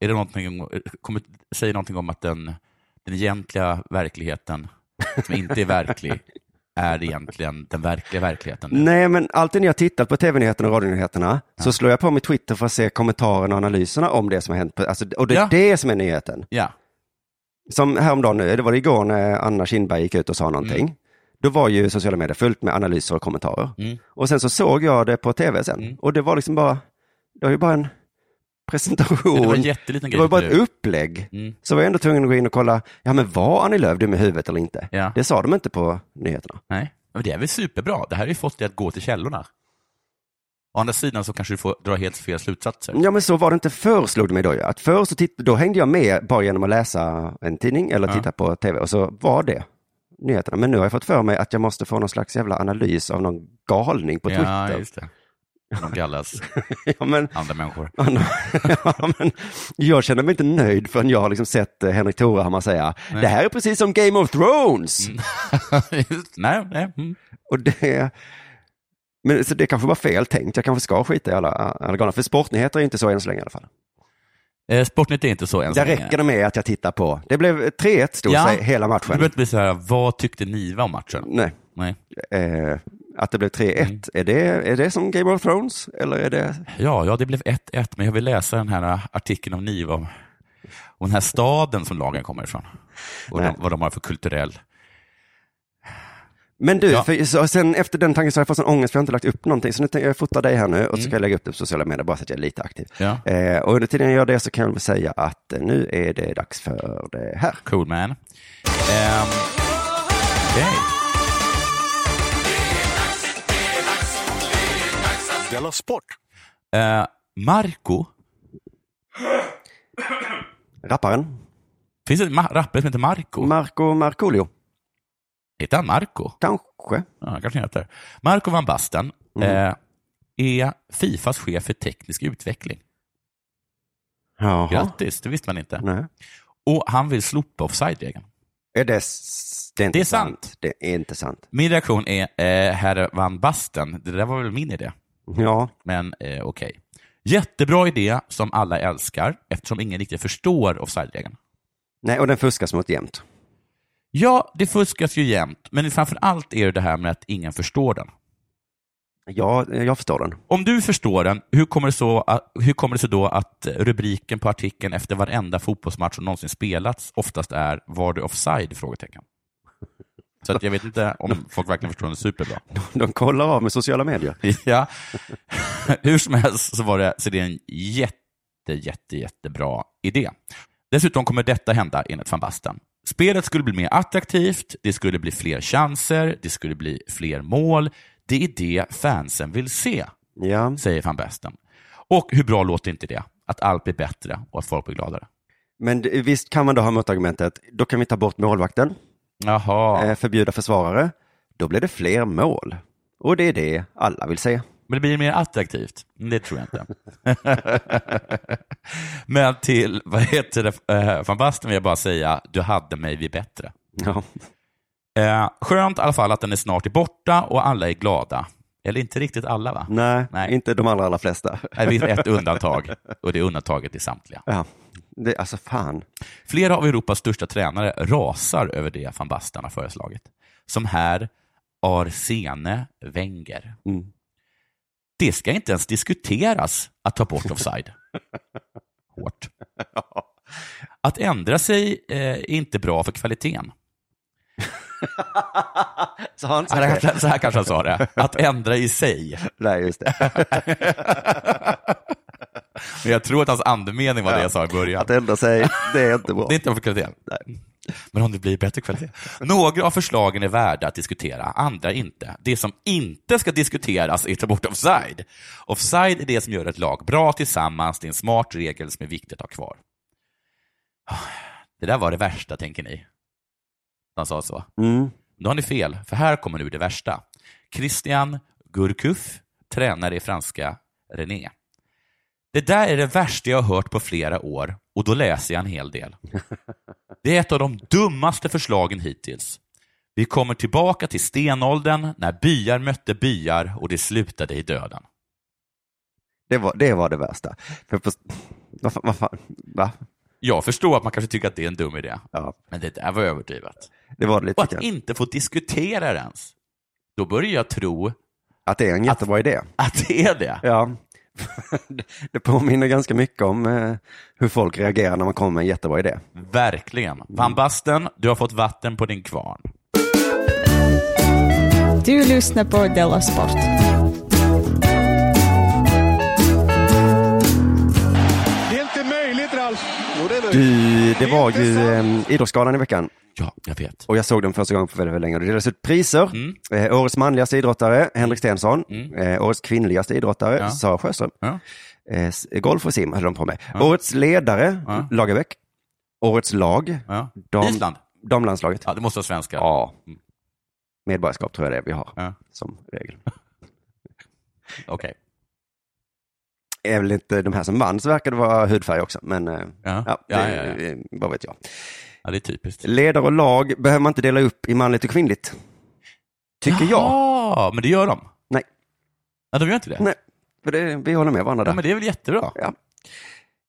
Speaker 2: Är det någonting, om- kommer, säger någonting om att den, den egentliga verkligheten, som inte är verklig, är egentligen den verkliga verkligheten? nu?
Speaker 3: Nej, men alltid när jag tittar på tv-nyheterna och radionyheterna så slår jag på mitt Twitter för att se kommentarerna och analyserna om det som har hänt. På, alltså, och det är
Speaker 2: Ja.
Speaker 3: det som är nyheten.
Speaker 2: Ja.
Speaker 3: Som häromdagen, eh, det var det igår när Anna Kinberg gick ut och
Speaker 2: Mm.
Speaker 3: sa någonting. Då var ju sociala medier fullt med analyser och kommentarer.
Speaker 2: Mm.
Speaker 3: Och sen så såg jag det på tv sen.
Speaker 2: Mm.
Speaker 3: Och det var liksom bara, det var ju bara en presentation.
Speaker 2: Det var en jätteliten
Speaker 3: Det
Speaker 2: grej.
Speaker 3: var ju bara ett
Speaker 2: nu.
Speaker 3: upplägg.
Speaker 2: Mm.
Speaker 3: Så var jag ändå tvungen att gå in och kolla, ja men var Annie Lööf dum i huvudet eller inte?
Speaker 2: Ja.
Speaker 3: Det sa de inte på nyheterna.
Speaker 2: Nej, men det är väl superbra. Det här har ju fått dig att gå till källorna. Å andra sidan så kanske du får dra helt fel slutsatser.
Speaker 3: Ja men så var det inte förr slog det mig då ju. Att förr så titt- då hängde jag med bara genom att läsa en tidning eller
Speaker 2: Ja.
Speaker 3: titta på tv och så var det nyheterna. Men nu har jag fått för mig att jag måste få någon slags jävla analys av någon galning på
Speaker 2: ja,
Speaker 3: Twitter.
Speaker 2: just det. De kallas
Speaker 3: Ja, men,
Speaker 2: andra människor.
Speaker 3: ja, men, jag känner mig inte nöjd förrän jag har liksom sett eh, Henrik Torehammar säga det här är precis som Game of
Speaker 2: Mm.
Speaker 3: Thrones.
Speaker 2: Just- nej, nej. Mm.
Speaker 3: Och det, men, så det kanske var fel tänkt. Jag kanske ska skita i alla, alla galningar. För sportnyheter är ju inte så än så länge i alla fall.
Speaker 2: Eh, Sportnytt är inte så än så
Speaker 3: Där räcker det med att jag tittar på. Det blev 3-1 stod
Speaker 2: Ja.
Speaker 3: sig hela
Speaker 2: Du behöver
Speaker 3: matchen.
Speaker 2: inte bli så här, vad tyckte ni om matchen?
Speaker 3: Nej.
Speaker 2: Nej.
Speaker 3: eh, att det blev 3-1,
Speaker 2: Mm.
Speaker 3: är, det, är det som Game of Thrones? Eller är det...
Speaker 2: Ja, ja, det blev 1-1, men jag vill läsa den här artikeln om Niva, om, om den här staden som lagen kommer ifrån. Och de,
Speaker 3: Nej.
Speaker 2: vad de har för kulturell...
Speaker 3: Men du,
Speaker 2: Ja.
Speaker 3: för, så, sen efter den tanken så har jag fått sån ångest för jag har inte lagt upp någonting. Så nu tänker jag fota dig här nu och så ska jag lägga upp det på sociala medier bara så att jag är lite aktiv.
Speaker 2: Mm. Ja.
Speaker 3: Eh, och under tiden jag gör det så kan jag väl säga att eh, nu är det dags för det här.
Speaker 2: Cool man. Ehm, okej.
Speaker 5: Della Sport!
Speaker 2: Eh, Marco,
Speaker 3: Rapparen
Speaker 2: finns det en ma- rappare som heter Marco?
Speaker 3: Marco Markoolio,
Speaker 2: heter han Marco?
Speaker 3: kanske.
Speaker 2: Ja, han kanske heter. Marco van Basten eh, är Fifas chef för teknisk utveckling.
Speaker 3: Jaha.
Speaker 2: Grattis, det visste man inte.
Speaker 3: Nej.
Speaker 2: Och han vill slopa offside-regeln.
Speaker 3: Är det, s- det är inte
Speaker 2: Det är sant.
Speaker 3: sant. Det är inte sant.
Speaker 2: Min reaktion är, eh, herr van Basten, det där var väl min idé?
Speaker 3: Ja,
Speaker 2: Men eh, okej. Jättebra idé som alla älskar eftersom ingen riktigt förstår offside-regeln.
Speaker 3: nej, och den fuskas mot jämt.
Speaker 2: Ja, det fuskas ju jämt, men framför allt är det det här med att ingen förstår den.
Speaker 3: Ja, jag förstår den.
Speaker 2: Om du förstår den, hur kommer, det så att, hur kommer det sig då att rubriken på artikeln efter varenda fotbollsmatch som någonsin spelats oftast är ”Var du offside?” frågetecken. Så att jag vet inte om folk verkligen förstår den superbra.
Speaker 3: De kollar av med sociala medier.
Speaker 2: Ja. Hur som helst så var det, så det är en jätte, jätte, jättebra idé. Dessutom kommer detta hända enligt van Basten. Spelet skulle bli mer attraktivt, det skulle bli fler chanser, det skulle bli fler mål. Det är det fansen vill se,
Speaker 3: Ja.
Speaker 2: säger van Basten. Och hur bra låter inte det? Att allt blir bättre och att folk blir gladare.
Speaker 3: Men det- visst kan man då ha motargumentet, då kan vi ta bort målvakten,
Speaker 2: Jaha,
Speaker 3: eh, förbjuda försvarare, då blir det fler mål. Och det är det alla vill se.
Speaker 2: men det blir mer attraktivt? Det tror jag inte. men till, vad heter det, eh, van Basten vill jag bara säga, du hade mig vid bättre.
Speaker 3: Ja.
Speaker 2: Eh, skönt i alla fall att den är snart är borta och alla är glada. Eller inte riktigt alla va?
Speaker 3: Nej,
Speaker 2: Nej.
Speaker 3: inte de allra, allra flesta.
Speaker 2: Det finns ett undantag och det undantaget är samtliga.
Speaker 3: Ja. Det, alltså fan.
Speaker 2: Flera av Europas största tränare rasar över det van Basten har föreslagit. Som här Arsene Wenger.
Speaker 3: Mm.
Speaker 2: Det ska inte ens diskuteras att ta bort offside. Hårt. Att ändra sig eh, är inte bra för kvaliteten.
Speaker 3: Så han
Speaker 2: Så här, kanske- så här kanske han sa det. Att ändra i sig.
Speaker 3: Nej, just det.
Speaker 2: Men jag tror att hans andemening var det jag sa i början.
Speaker 3: Att ändra sig, det är inte bra.
Speaker 2: Det är inte för kvaliteten. Men om det blir bättre kvalitet. Några av förslagen är värda att diskutera, andra inte. Det som inte ska diskuteras är ta bort offside. Offside är det som gör ett lag bra tillsammans, det är en smart regel som är viktig att ha kvar. Det där var det värsta, tänker ni? Han sa så.
Speaker 3: Mm.
Speaker 2: Då har ni fel, för här kommer nu det värsta. Christian Gurkuf, tränare i franska René. Det där är det värsta jag har hört på flera år och då läser jag en hel del. Det är ett av de dummaste förslagen hittills. Vi kommer tillbaka till stenåldern när byar mötte byar och det slutade i döden.
Speaker 3: Det, var, det var det värsta. För, för, vad fan? Vad fan va?
Speaker 2: Jag förstår att man kanske tycker att det är en dum idé,
Speaker 3: Ja,
Speaker 2: men det där var överdrivet.
Speaker 3: det var det lite
Speaker 2: Och att
Speaker 3: grann.
Speaker 2: inte få diskutera det ens. Då börjar jag tro
Speaker 3: Att det är en jättebra idé.
Speaker 2: att det är det.
Speaker 3: Ja. det påminner ganska mycket om eh, hur folk reagerar när man kommer med en jättebra idé.
Speaker 2: Verkligen. Van Basten, du har fått vatten på din kvarn.
Speaker 5: Du lyssnar på Della Sport.
Speaker 6: Det är inte möjligt Ralf. Jo, det är möjligt.
Speaker 3: Du, det var ju eh, Idrottsgalan i veckan
Speaker 2: Ja, jag vet.
Speaker 3: och jag såg den första gången för väldigt, väldigt länge. Det delades ut priser.
Speaker 2: Mm.
Speaker 3: Eh, årets manligaste idrottare, Henrik Stenson. Eh, årets kvinnligaste idrottare,
Speaker 2: Ja.
Speaker 3: Sara Sjöström.
Speaker 2: Ja.
Speaker 3: Eh, s- golf och sim hade de på med. Årets ledare,
Speaker 2: Ja.
Speaker 3: Lagerbäck. Årets lag,
Speaker 2: Ja.
Speaker 3: Dam-
Speaker 2: Island?
Speaker 3: damlandslaget.
Speaker 2: Ja, det måste vara svenska.
Speaker 3: Ja. Medborgarskap tror jag det är vi har
Speaker 2: Ja.
Speaker 3: som regel.
Speaker 2: Okej.
Speaker 3: Är väl inte de här som vann så verkar det vara hudfärg också, men eh,
Speaker 2: Ja.
Speaker 3: ja,
Speaker 2: Ja,
Speaker 3: det,
Speaker 2: ja, ja.
Speaker 3: eh, vad vet jag.
Speaker 2: Ja, det är typiskt.
Speaker 3: Ledare och lag behöver man inte dela upp i manligt och kvinnligt. Tycker jag.
Speaker 2: Ja, men det gör de.
Speaker 3: Nej.
Speaker 2: Ja, de gör inte det?
Speaker 3: Nej, för det, vi håller med varandra
Speaker 2: Ja,
Speaker 3: där.
Speaker 2: men det är väl jättebra?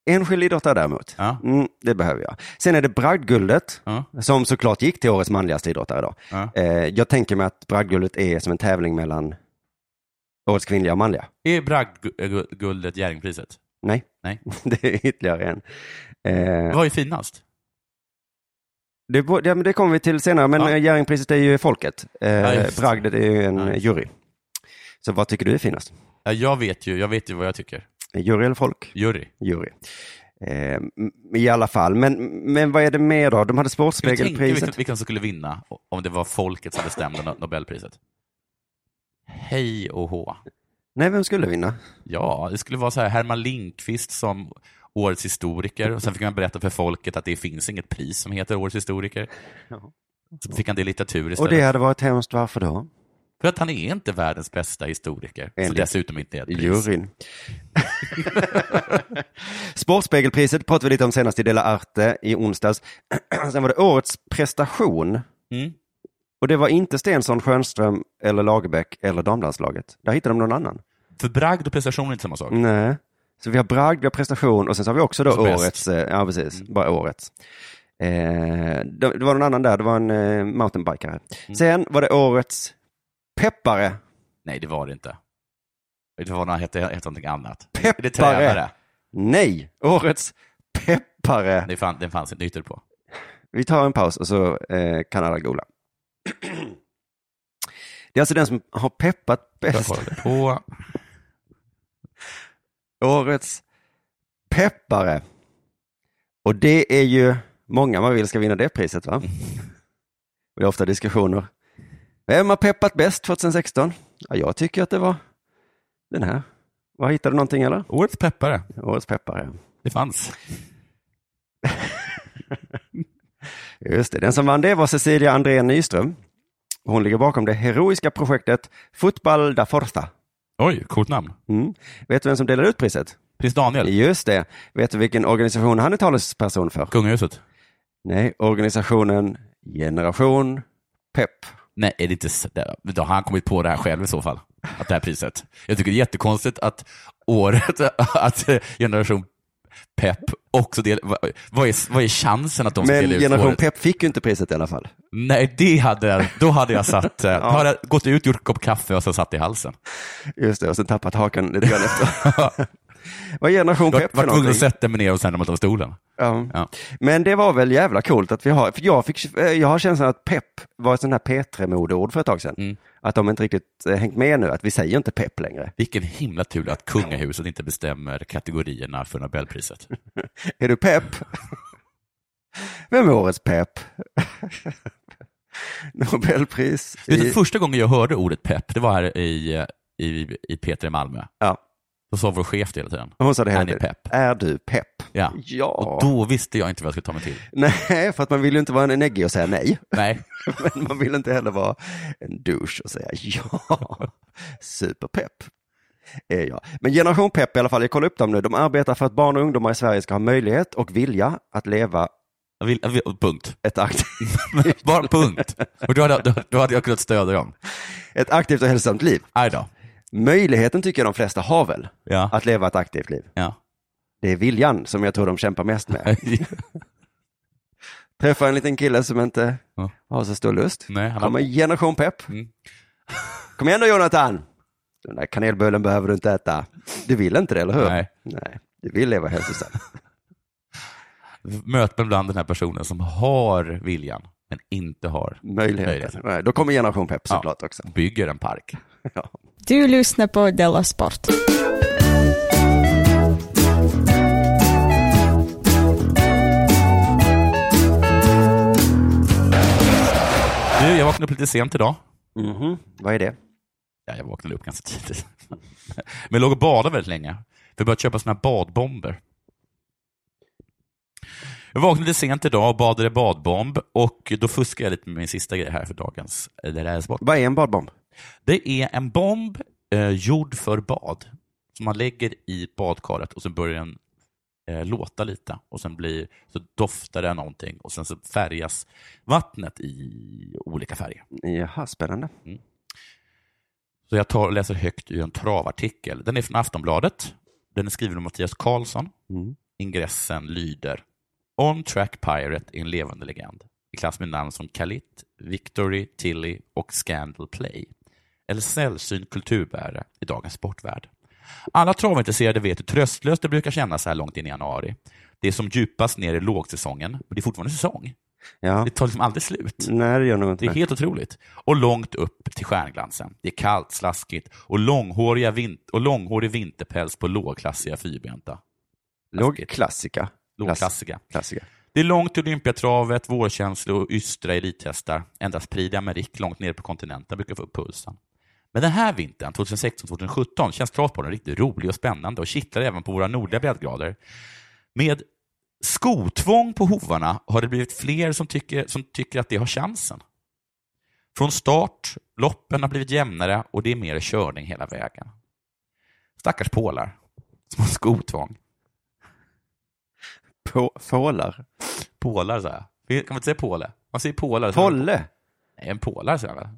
Speaker 3: Enskild idrottare däremot,
Speaker 2: Ja.
Speaker 3: mm, det behöver jag. Sen är det bragdguldet,
Speaker 2: Ja.
Speaker 3: som såklart gick till årets manligaste idrottare. Då.
Speaker 2: Ja.
Speaker 3: Eh, jag tänker mig att bragdguldet är som en tävling mellan årets kvinnliga och manliga.
Speaker 2: Är Bragdguldet Jerringpriset?
Speaker 3: Nej,
Speaker 2: Nej.
Speaker 3: det är ytterligare en. Eh,
Speaker 2: Vad är finast?
Speaker 3: Det, bo- det, men det kommer vi till senare, men
Speaker 2: Ja.
Speaker 3: ja. Jerringpriset är ju folket. Eh,
Speaker 2: just det.
Speaker 3: Bragdet är ju en
Speaker 2: Ja.
Speaker 3: jury. Så vad tycker du är finast?
Speaker 2: Ja, jag, vet ju, jag vet ju vad jag tycker.
Speaker 3: Jury eller folk?
Speaker 2: Jury.
Speaker 3: Jury. Eh, m- I alla fall, men, men vad är det mer då? De hade
Speaker 2: Skulle du tänka vilka,
Speaker 3: Sportspegelpriset.
Speaker 2: vilka som skulle vinna om det var folket som bestämde no- Nobelpriset? Hej och hå.
Speaker 3: Nej, vem skulle vinna?
Speaker 2: Ja, det skulle vara så här Herman Lindqvist som årets historiker och sen fick man berätta för folket att det finns inget pris som heter årets historiker.
Speaker 3: Ja.
Speaker 2: Så fick han det i litteratur istället.
Speaker 3: Och det hade varit hemskt, varför då?
Speaker 2: För att han är inte världens bästa historiker, så
Speaker 3: Enligt
Speaker 2: dessutom inte är ett pris.
Speaker 3: Juryn. Sportspegelpriset pratade vi lite om senast i Dela Arte i onsdags. Sen var det årets prestation.
Speaker 2: Mm.
Speaker 3: Och det var inte Stensson, Schönström eller Lagerbäck eller damlandslaget. Där hittade de någon annan.
Speaker 2: För bragd och prestation är inte samma sak.
Speaker 3: Nej. Så vi har bragd, vi har prestation och sen så har vi också då
Speaker 2: Så bäst. Mm.
Speaker 3: årets, eh, ja precis, bara årets. Eh, det, det var någon annan där, det var en eh, mountainbikare.
Speaker 2: Mm.
Speaker 3: Sen var det årets peppare.
Speaker 2: Nej, det var det inte. Det var något, hette, hette någonting annat.
Speaker 3: Peppare.
Speaker 2: Det är tränare.
Speaker 3: Nej, årets peppare.
Speaker 2: Det, fann, det fanns inte ytter på.
Speaker 3: Vi tar en paus och så eh, kan alla googla. Det är alltså den som har peppat
Speaker 2: Jag
Speaker 3: bäst.
Speaker 2: kollade på.
Speaker 3: Årets peppare. Och det är ju många man vill ska vinna det priset va? Det är ofta diskussioner. Vem har peppat bäst 2016? Ja, jag tycker att det var den här. Vad hittade du någonting eller?
Speaker 2: Årets peppare.
Speaker 3: Årets peppare.
Speaker 2: Det fanns.
Speaker 3: Just det, den som vann det var Cecilia André Nyström. Hon ligger bakom det heroiska projektet Fotboll da Forza.
Speaker 2: Oj, coolt namn.
Speaker 3: Mm. Vet du vem som delade ut priset?
Speaker 2: Prins Daniel.
Speaker 3: Just det. Vet du vilken organisation han är talesperson för?
Speaker 2: Kungahuset.
Speaker 3: Nej, organisationen Generation Pepp.
Speaker 2: Nej, är det inte så- det- Då har han kommit på det här själv i så fall. Att det här priset. Jag tycker det är jättekonstigt att året, att generation Pepp också del... vad- Vad är, vad är chansen att de ska
Speaker 3: Men
Speaker 2: dela ut
Speaker 3: Generation
Speaker 2: året?
Speaker 3: Pepp fick ju inte priset i alla fall.
Speaker 2: Nej, det hade, då hade jag satt, eh, då hade jag gått ut, gjort en kopp kaffe och sen satt i halsen.
Speaker 3: Just det, och sen tappat hakan lite grann efter. Vad är Generation
Speaker 2: Jag
Speaker 3: Pepp
Speaker 2: var
Speaker 3: för
Speaker 2: tvungen att
Speaker 3: någonting?
Speaker 2: sätta mig ner och sen ramlat av stolen.
Speaker 3: Ja.
Speaker 2: Ja.
Speaker 3: Men det var väl jävla coolt att vi har, för jag, fick, eh, jag har känslan att pepp var ett sånt här P3-modeord för ett tag sedan.
Speaker 2: Mm.
Speaker 3: Att de inte riktigt eh, hängt med nu, att vi säger inte pepp längre.
Speaker 2: Vilken himla tur att kungahuset inte bestämmer kategorierna för Nobelpriset.
Speaker 3: Är du pepp? Vem är årets pepp? Nobelpris
Speaker 2: Du, vet,
Speaker 3: i...
Speaker 2: första gången jag hörde ordet pepp, det var här i, i, i Peter i Malmö.
Speaker 3: Ja,
Speaker 2: Då sa vår chef det hela tiden.
Speaker 3: hon sa det
Speaker 2: Han
Speaker 3: hela
Speaker 2: är
Speaker 3: tiden.
Speaker 2: pepp.
Speaker 3: Är du pepp?
Speaker 2: Ja.
Speaker 3: Ja.
Speaker 2: Och då visste jag inte vad jag skulle ta mig till.
Speaker 3: Nej, för att man vill ju inte vara en neggig och säga nej.
Speaker 2: Nej,
Speaker 3: Men man vill inte heller vara en douche och säga ja. Superpepp är jag. Men Generation Pepp i alla fall, jag kollar upp dem nu. De arbetar för att barn och ungdomar i Sverige ska ha möjlighet och vilja att leva
Speaker 2: jag vill, jag vill, punkt.
Speaker 3: ett aktivt,
Speaker 2: Bara punkt. Och då hade, då, då hade jag kunnat stödja dem.
Speaker 3: ett aktivt och hälsosamt liv.
Speaker 2: Aj då.
Speaker 3: Möjligheten tycker jag de flesta har väl,
Speaker 2: Ja.
Speaker 3: att leva ett aktivt liv.
Speaker 2: ja.
Speaker 3: Det är viljan som jag tror de kämpar mest med. Träffa en liten kille som inte
Speaker 2: Ja.
Speaker 3: har så stor lust.
Speaker 2: Nej, han har-
Speaker 3: Kommer Generation Pepp.
Speaker 2: Mm.
Speaker 3: Kom igen då Jonathan! Den där kanelbullen behöver du inte äta. Du vill inte det, eller hur?
Speaker 2: Nej.
Speaker 3: Nej. Du vill leva hälsosamt.
Speaker 2: Möt mig bland den här personen som har viljan, men inte har
Speaker 3: Möjligheter. Nej, då kommer generation Pep
Speaker 2: Ja.
Speaker 3: såklart också.
Speaker 2: Bygger en park.
Speaker 3: Ja.
Speaker 5: Du lyssnar på Della Sport.
Speaker 2: Du, jag vaknade upp lite sent idag.
Speaker 3: Mhm. Vad är det?
Speaker 2: Ja, jag vaknade upp ganska tidigt. Men jag låg och badade väldigt länge. För jag började köpa såna här badbomber. Jag vaknade sent idag och badade badbomb och då fuskade jag lite med min sista grej här för dagens eh, det här är sport.
Speaker 3: Vad är en badbomb?
Speaker 2: Det är en bomb eh, gjord för bad som man lägger i badkaret och sen börjar den eh, låta lite och sen blir, så doftar det någonting och sen så färgas vattnet i olika färger.
Speaker 3: Jaha, spännande.
Speaker 2: Så jag tar och läser högt ur en travartikel. Den är från Aftonbladet. Den är skriven av Mattias Karlsson.
Speaker 3: Mm.
Speaker 2: Ingressen lyder On Track Pirate är en levande legend i klass med namn som Kalit, Victory, Tilly och Scandal Play. En sällsynt kulturbärare i dagens sportvärld. Alla travintresserade vet hur tröstlöst det brukar kännas så här långt in i januari. Det är som djupast ner i lågsäsongen, men det är fortfarande säsong.
Speaker 3: Ja.
Speaker 2: Det tar liksom aldrig slut.
Speaker 3: Nej, det gör nog inte
Speaker 2: Det är
Speaker 3: det.
Speaker 2: helt otroligt. Och långt upp till stjärnglansen. Det är kallt, slaskigt och, långhåriga vin- och långhårig vinterpäls på lågklassiga fyrbenta.
Speaker 3: Låg klassika.
Speaker 2: Lågklassiga.
Speaker 3: klassika.
Speaker 2: Det är långt till Olympiatravet, vårkänslor och ystra elithästar. Endast Prix Amerik långt ner på kontinenten brukar få upp pulsen. Men den här vintern, 2016-2017, känns travsporten riktigt rolig och spännande och kittlar även på våra nordliga breddgrader. Med skotvång på hovarna har det blivit fler som tycker, som tycker att det har chansen. Från start, loppen har blivit jämnare och det är mer körning hela vägen. Stackars pålar som har skotvång.
Speaker 3: På, pålar.
Speaker 2: Pålar, sa jag. Kan man inte säga påle? Man säger pålar. så-
Speaker 3: Polle.
Speaker 2: Nej, en pålare säger man väl?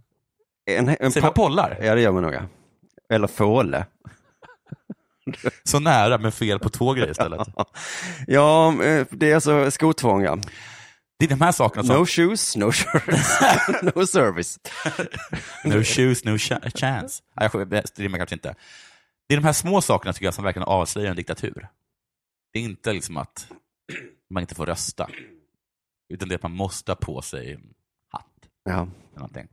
Speaker 3: En, en
Speaker 2: Säger man
Speaker 3: po-
Speaker 2: pollar?
Speaker 3: ja, det gör man nog. ja. Eller fåle.
Speaker 2: Så nära, men fel på två grejer istället.
Speaker 3: Ja, eh, det är alltså skotvång, ja.
Speaker 2: Det är de här sakerna som...
Speaker 3: No shoes, no shirts, no service.
Speaker 2: No shoes, no cha- chance. Nej, jag skämtar, det rimmar kanske inte. Det är de här små sakerna tycker jag som verkligen avslöjar en diktatur. Det är inte liksom att man inte får rösta, utan det är att man måste ha på sig en hatt.
Speaker 3: Ja.
Speaker 2: eller någonting.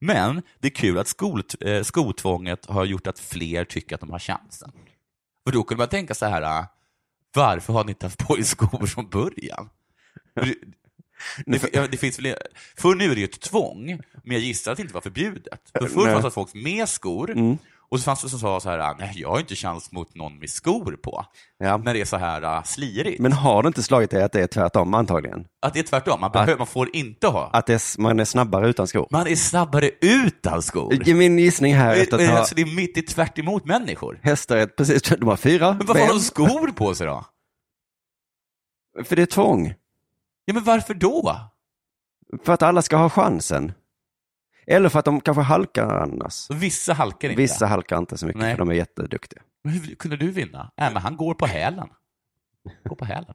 Speaker 2: Men det är kul att skot, eh, skotvånget har gjort att fler tycker att de har chansen. För då kunde man tänka så här, äh, varför har ni inte haft på er skor från början? För Det, det, fi- ja, det finns väl, för nu är det ju ett tvång, men jag gissar att det inte var förbjudet. För förr
Speaker 3: Nej. Mm.
Speaker 2: fanns det folk med skor, och så fanns det som sa så här, äh, nej, jag har inte chans mot någon med skor på.
Speaker 3: Ja.
Speaker 2: När det är så här äh, slirigt.
Speaker 3: Men har det inte slagit dig att det är tvärtom antagligen?
Speaker 2: Att det är tvärtom, man, behöver, man får inte ha.
Speaker 3: Att det är, s- man är snabbare utan skor?
Speaker 2: Man är snabbare utan skor.
Speaker 3: I Min gissning här
Speaker 2: Det,
Speaker 3: efter att
Speaker 2: det,
Speaker 3: ha
Speaker 2: alltså, det är mitt i tvärt emot människor.
Speaker 3: hästar, är precis, de har fyra
Speaker 2: Men varför har de
Speaker 3: ben,
Speaker 2: skor på sig då?
Speaker 3: för det är tvång.
Speaker 2: Ja, men varför då?
Speaker 3: För att alla ska ha chansen. Eller för att de kanske halkar annars.
Speaker 2: Så Vissa halkar inte.
Speaker 3: Vissa halkar inte så mycket,
Speaker 2: Nej.
Speaker 3: för de är jätteduktiga.
Speaker 2: Men hur kunde du vinna? Nej, men han går på hälen. Går på hälen.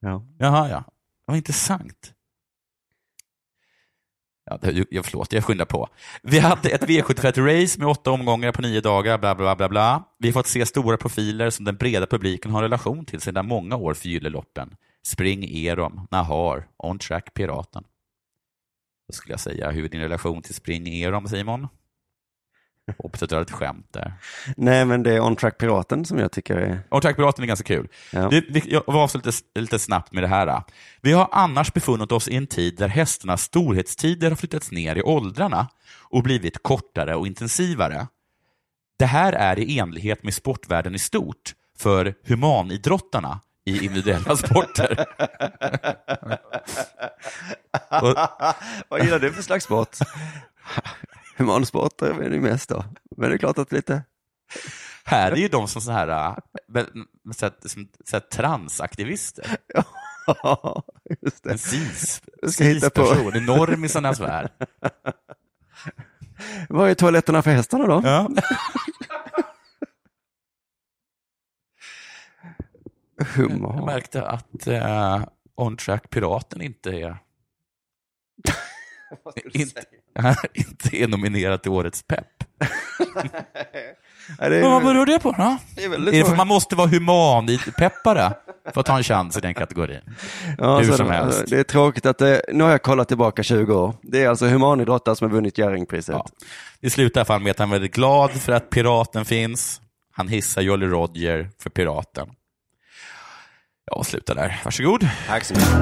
Speaker 3: Ja.
Speaker 2: Jaha, ja. Vad intressant. Ja, det, jag, förlåt, jag skyndar på. Vi hade ett V71-race med åtta omgångar på nio dagar, bla, bla, bla, bla. Vi har fått se stora profiler som den breda publiken har en relation till sedan många år förgyller loppen. Spring Erom, Nahar, On Track Piraten. Vad skulle jag säga? Hur är din relation till Spring Erom, Simon? Hoppas att du har ett skämt där.
Speaker 3: Nej, men det är On Track Piraten som jag tycker är...
Speaker 2: Och tack piraten är ganska kul.
Speaker 3: Ja.
Speaker 2: Vi, vi, jag var avslutar lite, lite snabbt med det här. då. Vi har annars befunnit oss i en tid där hästarnas storhetstider har flyttats ner i åldrarna och blivit kortare och intensivare. Det här är i enlighet med sportvärlden i stort för humanidrottarna i individuella sporter.
Speaker 3: Vad gillar du för slags sport? Humansport är det ju mest då. Men det är klart att lite...
Speaker 2: här är ju de som så här, äh, men- men så här, som, så här transaktivister.
Speaker 3: Ja, just det.
Speaker 2: En cis,
Speaker 3: Jag ska hitta på-
Speaker 2: cis-person, enormisarnas värld.
Speaker 3: Var är toaletterna för hästarna då?
Speaker 2: Ja. Jag
Speaker 3: Hummer.
Speaker 2: märkte att eh, On Track Piraten inte är, inte, inte är nominerad till Årets pepp.
Speaker 3: Ja, det är,
Speaker 2: Vad beror det på då?
Speaker 3: det är väldigt
Speaker 2: Är det för
Speaker 3: många-
Speaker 2: att man måste vara human i peppare för att ha en chans i den kategorin?
Speaker 3: Ja,
Speaker 2: Hur
Speaker 3: så
Speaker 2: som
Speaker 3: det,
Speaker 2: helst.
Speaker 3: Det är tråkigt att det, nu har jag kollat tillbaka 20 år. Det är alltså humanidrottare som har vunnit Jerringpriset.
Speaker 2: Ja. Det slutar i alla fall med att han är väldigt glad för att piraten finns. Han hissar Jolly Roger för piraten. Ja, sluta där. Varsågod.
Speaker 3: Tack så mycket.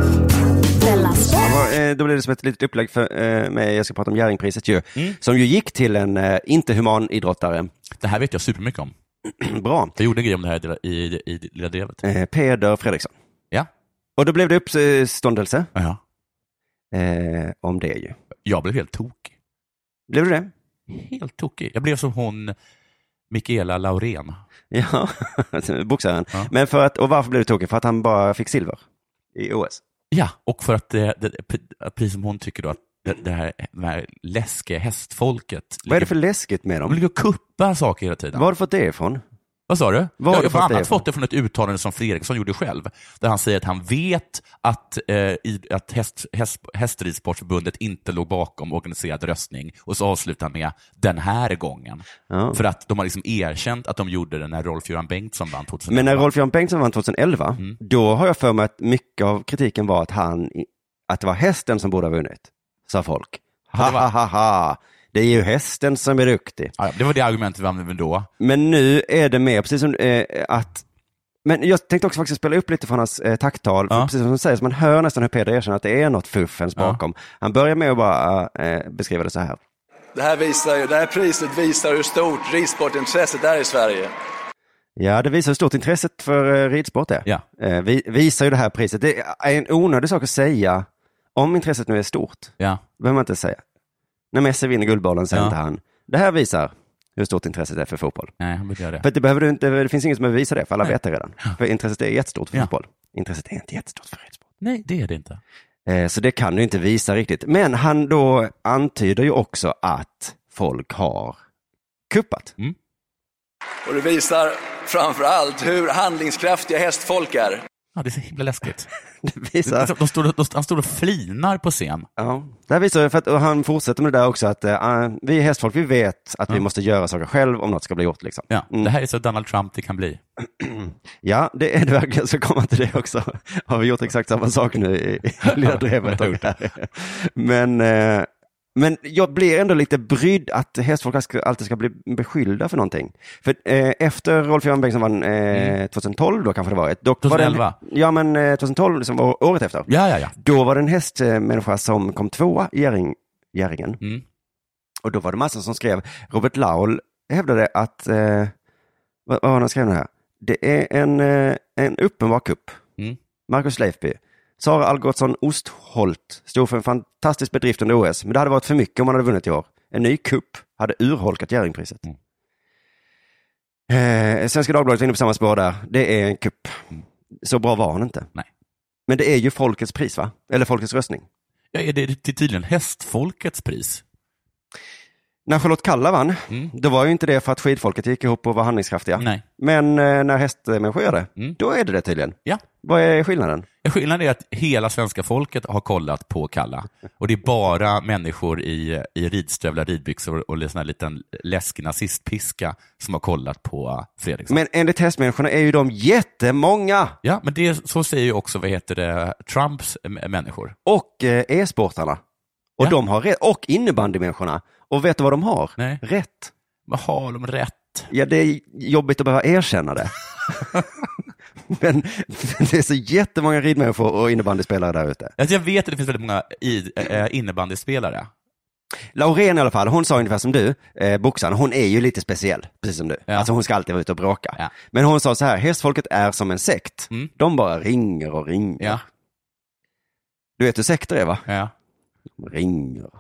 Speaker 4: Della Sport.
Speaker 3: Ja, eh, Då blir det som ett litet upplägg för eh, mig, jag ska prata om Jerringpriset ju,
Speaker 2: Mm.
Speaker 3: som ju gick till en eh, inte humanidrottare.
Speaker 2: Det här vet jag supermycket om.
Speaker 3: Bra.
Speaker 2: Jag gjorde en grej om det här i, i, i Lilla Drevet.
Speaker 3: Eh, Peder Fredriksson.
Speaker 2: Ja.
Speaker 3: Och då blev det uppståndelse
Speaker 2: Ja.
Speaker 3: eh, om det ju.
Speaker 2: Jag blev helt tokig.
Speaker 3: Blev du det?
Speaker 2: Helt tokig. Jag blev som hon, Mikaela Laurén.
Speaker 3: Ja, boxaren.
Speaker 2: Ja.
Speaker 3: Men för att, och varför blev du tokig? För att han bara fick silver i OS.
Speaker 2: Ja, och för att, eh, det, det, att precis som hon tycker då att det, det här, det här läskiga hästfolket
Speaker 3: Vad är det för läskigt med
Speaker 2: de
Speaker 3: dem?
Speaker 2: ligger och kuppar saker hela tiden.
Speaker 3: Var har du fått det ifrån?
Speaker 2: Vad sa du?
Speaker 3: Var har du
Speaker 2: jag jag har
Speaker 3: fått
Speaker 2: bland
Speaker 3: det
Speaker 2: annat
Speaker 3: ifrån?
Speaker 2: fått det från ett uttalande som Fredriksson gjorde själv, där han säger att han vet att, eh, i, att häst, häst, Hästridsportförbundet inte låg bakom organiserad röstning, och så avslutar han med ”den här gången”.
Speaker 3: Ja.
Speaker 2: För att de har liksom erkänt att de gjorde det när Rolf-Göran Bengtsson vann 2011.
Speaker 3: Men när Rolf-Göran Bengtsson vann 2011,
Speaker 2: Mm.
Speaker 3: då har jag för mig att mycket av kritiken var att, han, att det var hästen som borde ha vunnit, sa folk. Ha,
Speaker 2: det var-
Speaker 3: ha, ha, ha. Det är ju hästen som är duktig.
Speaker 2: Ja, ja, det var det argumentet vi använde då.
Speaker 3: Men nu är det mer, precis som eh, att... Men jag tänkte också faktiskt spela upp lite från hans eh, tacktal, för
Speaker 2: Ja.
Speaker 3: precis som du säger, så man hör nästan hur Peder erkänner att det är något fuffens
Speaker 2: Ja.
Speaker 3: bakom. Han börjar med att bara eh, beskriva det så här.
Speaker 7: Det här, visar, ju- det här priset visar hur stort ridsportintresset är i Sverige.
Speaker 3: Ja, det visar hur stort intresset för eh, ridsport är.
Speaker 2: Ja.
Speaker 3: Eh, vi, visar ju det här priset. Det är en onödig sak att säga om intresset nu är stort.
Speaker 2: Ja.
Speaker 3: behöver man inte säga. När Messi vinner Guldbollen säger
Speaker 2: Ja.
Speaker 3: inte han, det här visar hur stort intresset är för fotboll.
Speaker 2: Nej, han borde göra
Speaker 3: För
Speaker 2: det.
Speaker 3: att det, behöver du inte, det finns ingen som behöver visa det, för alla vet det redan. För intresset är jättestort för
Speaker 2: Ja.
Speaker 3: fotboll. Intresset är inte jättestort för ridsport.
Speaker 2: Nej, det är det inte.
Speaker 3: Eh, så det kan du inte visa riktigt. Men han då antyder ju också att folk har kuppat.
Speaker 7: Och det visar framför allt hur handlingskraftiga hästfolk är.
Speaker 2: Ja, det är så himla läskigt.
Speaker 3: Det
Speaker 2: Det är
Speaker 3: visar,
Speaker 2: som- De står, de, han står och flinar på scen.
Speaker 3: ja, det här visar för att, och han fortsätter med det där också, att eh, vi hästfolk, vi vet att vi måste göra saker själv om något ska bli gjort. Liksom.
Speaker 2: Ja,
Speaker 3: Mm.
Speaker 2: Det här är så Donald Trump det kan bli.
Speaker 3: Ja, det är det verkligen. Så kommer till det också. Har vi gjort exakt samma sak nu i, i Lilla Drevet?
Speaker 2: Ja, vi har gjort
Speaker 3: men, eh, men jag blir ändå lite brydd att hästfolk ska- alltid ska bli beskyllda för någonting. För eh, efter Rolf-Göran Bengtsson vann eh,
Speaker 2: Mm.
Speaker 3: 2012, då kanske det var ett. Då var det en-
Speaker 2: 2011.
Speaker 3: ja, men eh, 2012, som var året efter.
Speaker 2: Ja, ja, ja.
Speaker 3: Då var det en hästmänniska som kom tvåa i Gäring, Gäringen.
Speaker 2: Mm.
Speaker 3: Och då var det massor som skrev, Robert Laul hävdade att, eh, vad vad var det han skrev nu här? Det är en, eh, en uppenbar kupp.
Speaker 2: Mm.
Speaker 3: Marcus Leifby. Sara Algotsson Ostholt stod för en fantastisk bedrift under OS, men det hade varit för mycket om man hade vunnit i år. En ny kupp hade urholkat Jerringpriset.
Speaker 2: Mm.
Speaker 3: Eh, Svenska Dagbladet var inne på samma spår där. Det är en kupp.
Speaker 2: Mm.
Speaker 3: Så bra var han inte.
Speaker 2: Nej.
Speaker 3: Men det är ju folkets pris, va? Eller folkets röstning.
Speaker 2: Ja, är det det är tydligen hästfolkets pris?
Speaker 3: När Charlotte Kalla vann,
Speaker 2: Mm.
Speaker 3: då var ju inte det för att skidfolket gick ihop och var handlingskraftiga.
Speaker 2: Nej.
Speaker 3: Men eh, när hästmänniskor gör det,
Speaker 2: Mm.
Speaker 3: då är det det tydligen.
Speaker 2: Ja.
Speaker 3: Vad är skillnaden?
Speaker 2: Skillnaden är att hela svenska folket har kollat på Kalla. Och det är bara människor i, i ridstövlar, ridbyxor och en sån här liten läskig nazistpiska som har kollat på Fredriksson.
Speaker 3: Men enligt hästmänniskorna är ju de jättemånga.
Speaker 2: Ja, men det, så säger ju också, vad heter det, Trumps m- människor.
Speaker 3: Och eh, e-sportarna. Och,
Speaker 2: Ja.
Speaker 3: de har rätt. och innebandymänniskorna. Och vet du vad de har?
Speaker 2: Nej.
Speaker 3: Rätt.
Speaker 2: Vad har de rätt?
Speaker 3: Ja, det är jobbigt att behöva erkänna det. men, men det är så jättemånga ridmänniskor och innebandyspelare där ute.
Speaker 2: Alltså jag vet att det finns väldigt många i, eh, innebandyspelare.
Speaker 3: Laurén i alla fall, hon sa ungefär som du, eh, boxaren, hon är ju lite speciell, precis som du.
Speaker 2: Ja.
Speaker 3: Alltså hon ska alltid vara ute och bråka.
Speaker 2: Ja.
Speaker 3: Men hon sa så här, hästfolket är som en sekt.
Speaker 2: Mm.
Speaker 3: De bara ringer och ringer.
Speaker 2: Ja,
Speaker 3: Du vet hur sekter är va?
Speaker 2: ja.
Speaker 3: Ringer,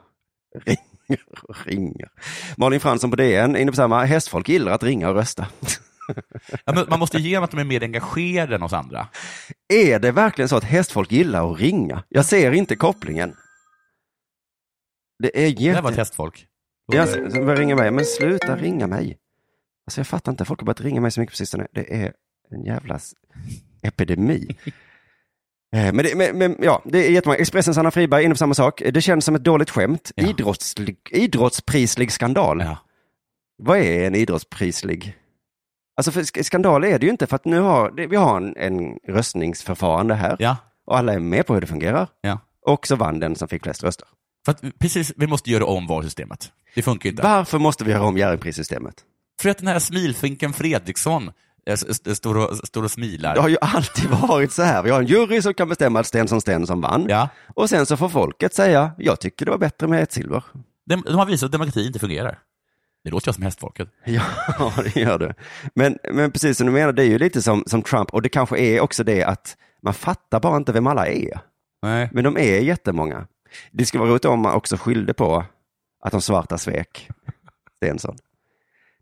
Speaker 3: ringer och ringer. Malin Fransson på DN, inne på samma, hästfolk gillar att ringa och rösta.
Speaker 2: ja men man måste ge dem att de är mer engagerade än oss andra.
Speaker 3: är det verkligen så att hästfolk gillar att ringa? Jag ser inte kopplingen. Det är
Speaker 2: Det där var
Speaker 3: jätte...
Speaker 2: ett hästfolk.
Speaker 3: Ja, så- så börjar ringa mig. Men sluta ringa mig. Alltså jag fattar inte, folk har börjat ringa mig så mycket på sistone. Det är en jävla s- epidemi. Eh, Men, det, men, men ja, det är jättemånga. Expressens Anna Friberg är inne på samma sak. Det känns som ett dåligt skämt.
Speaker 2: Ja.
Speaker 3: Idrottslig, idrottsprislig skandal.
Speaker 2: Ja.
Speaker 3: vad är en idrottsprislig? Alltså för sk- skandal är det ju inte för att nu har det- vi har en, en röstningsförfarande här
Speaker 2: Ja,
Speaker 3: och alla är med på hur det fungerar.
Speaker 2: ja.
Speaker 3: Och så vann den som fick flest röster.
Speaker 2: För att, vi- precis, vi måste göra om valsystemet. Det funkar ju inte.
Speaker 3: Varför måste vi göra om Jerringprissystemet?
Speaker 2: För att den här smilfinken Fredriksson eh, s- s- står och, står och smilar.
Speaker 3: Det har ju alltid varit så här. Vi har en jury som kan bestämma att Stensson Stensson vann.
Speaker 2: Ja.
Speaker 3: Och sen så får folket säga, jag tycker det var bättre med ett silver.
Speaker 2: De, de har visat att demokrati inte fungerar. Det låter jag som hästfolket.
Speaker 3: Ja, det gör du. Men, men precis som du menar, det är ju lite som, som Trump. Och det kanske är också det att man fattar bara inte vem alla är.
Speaker 2: Nej.
Speaker 3: Men de är jättemånga. Det skulle vara roligt om man också skyllde på att de svarta svek Stensson.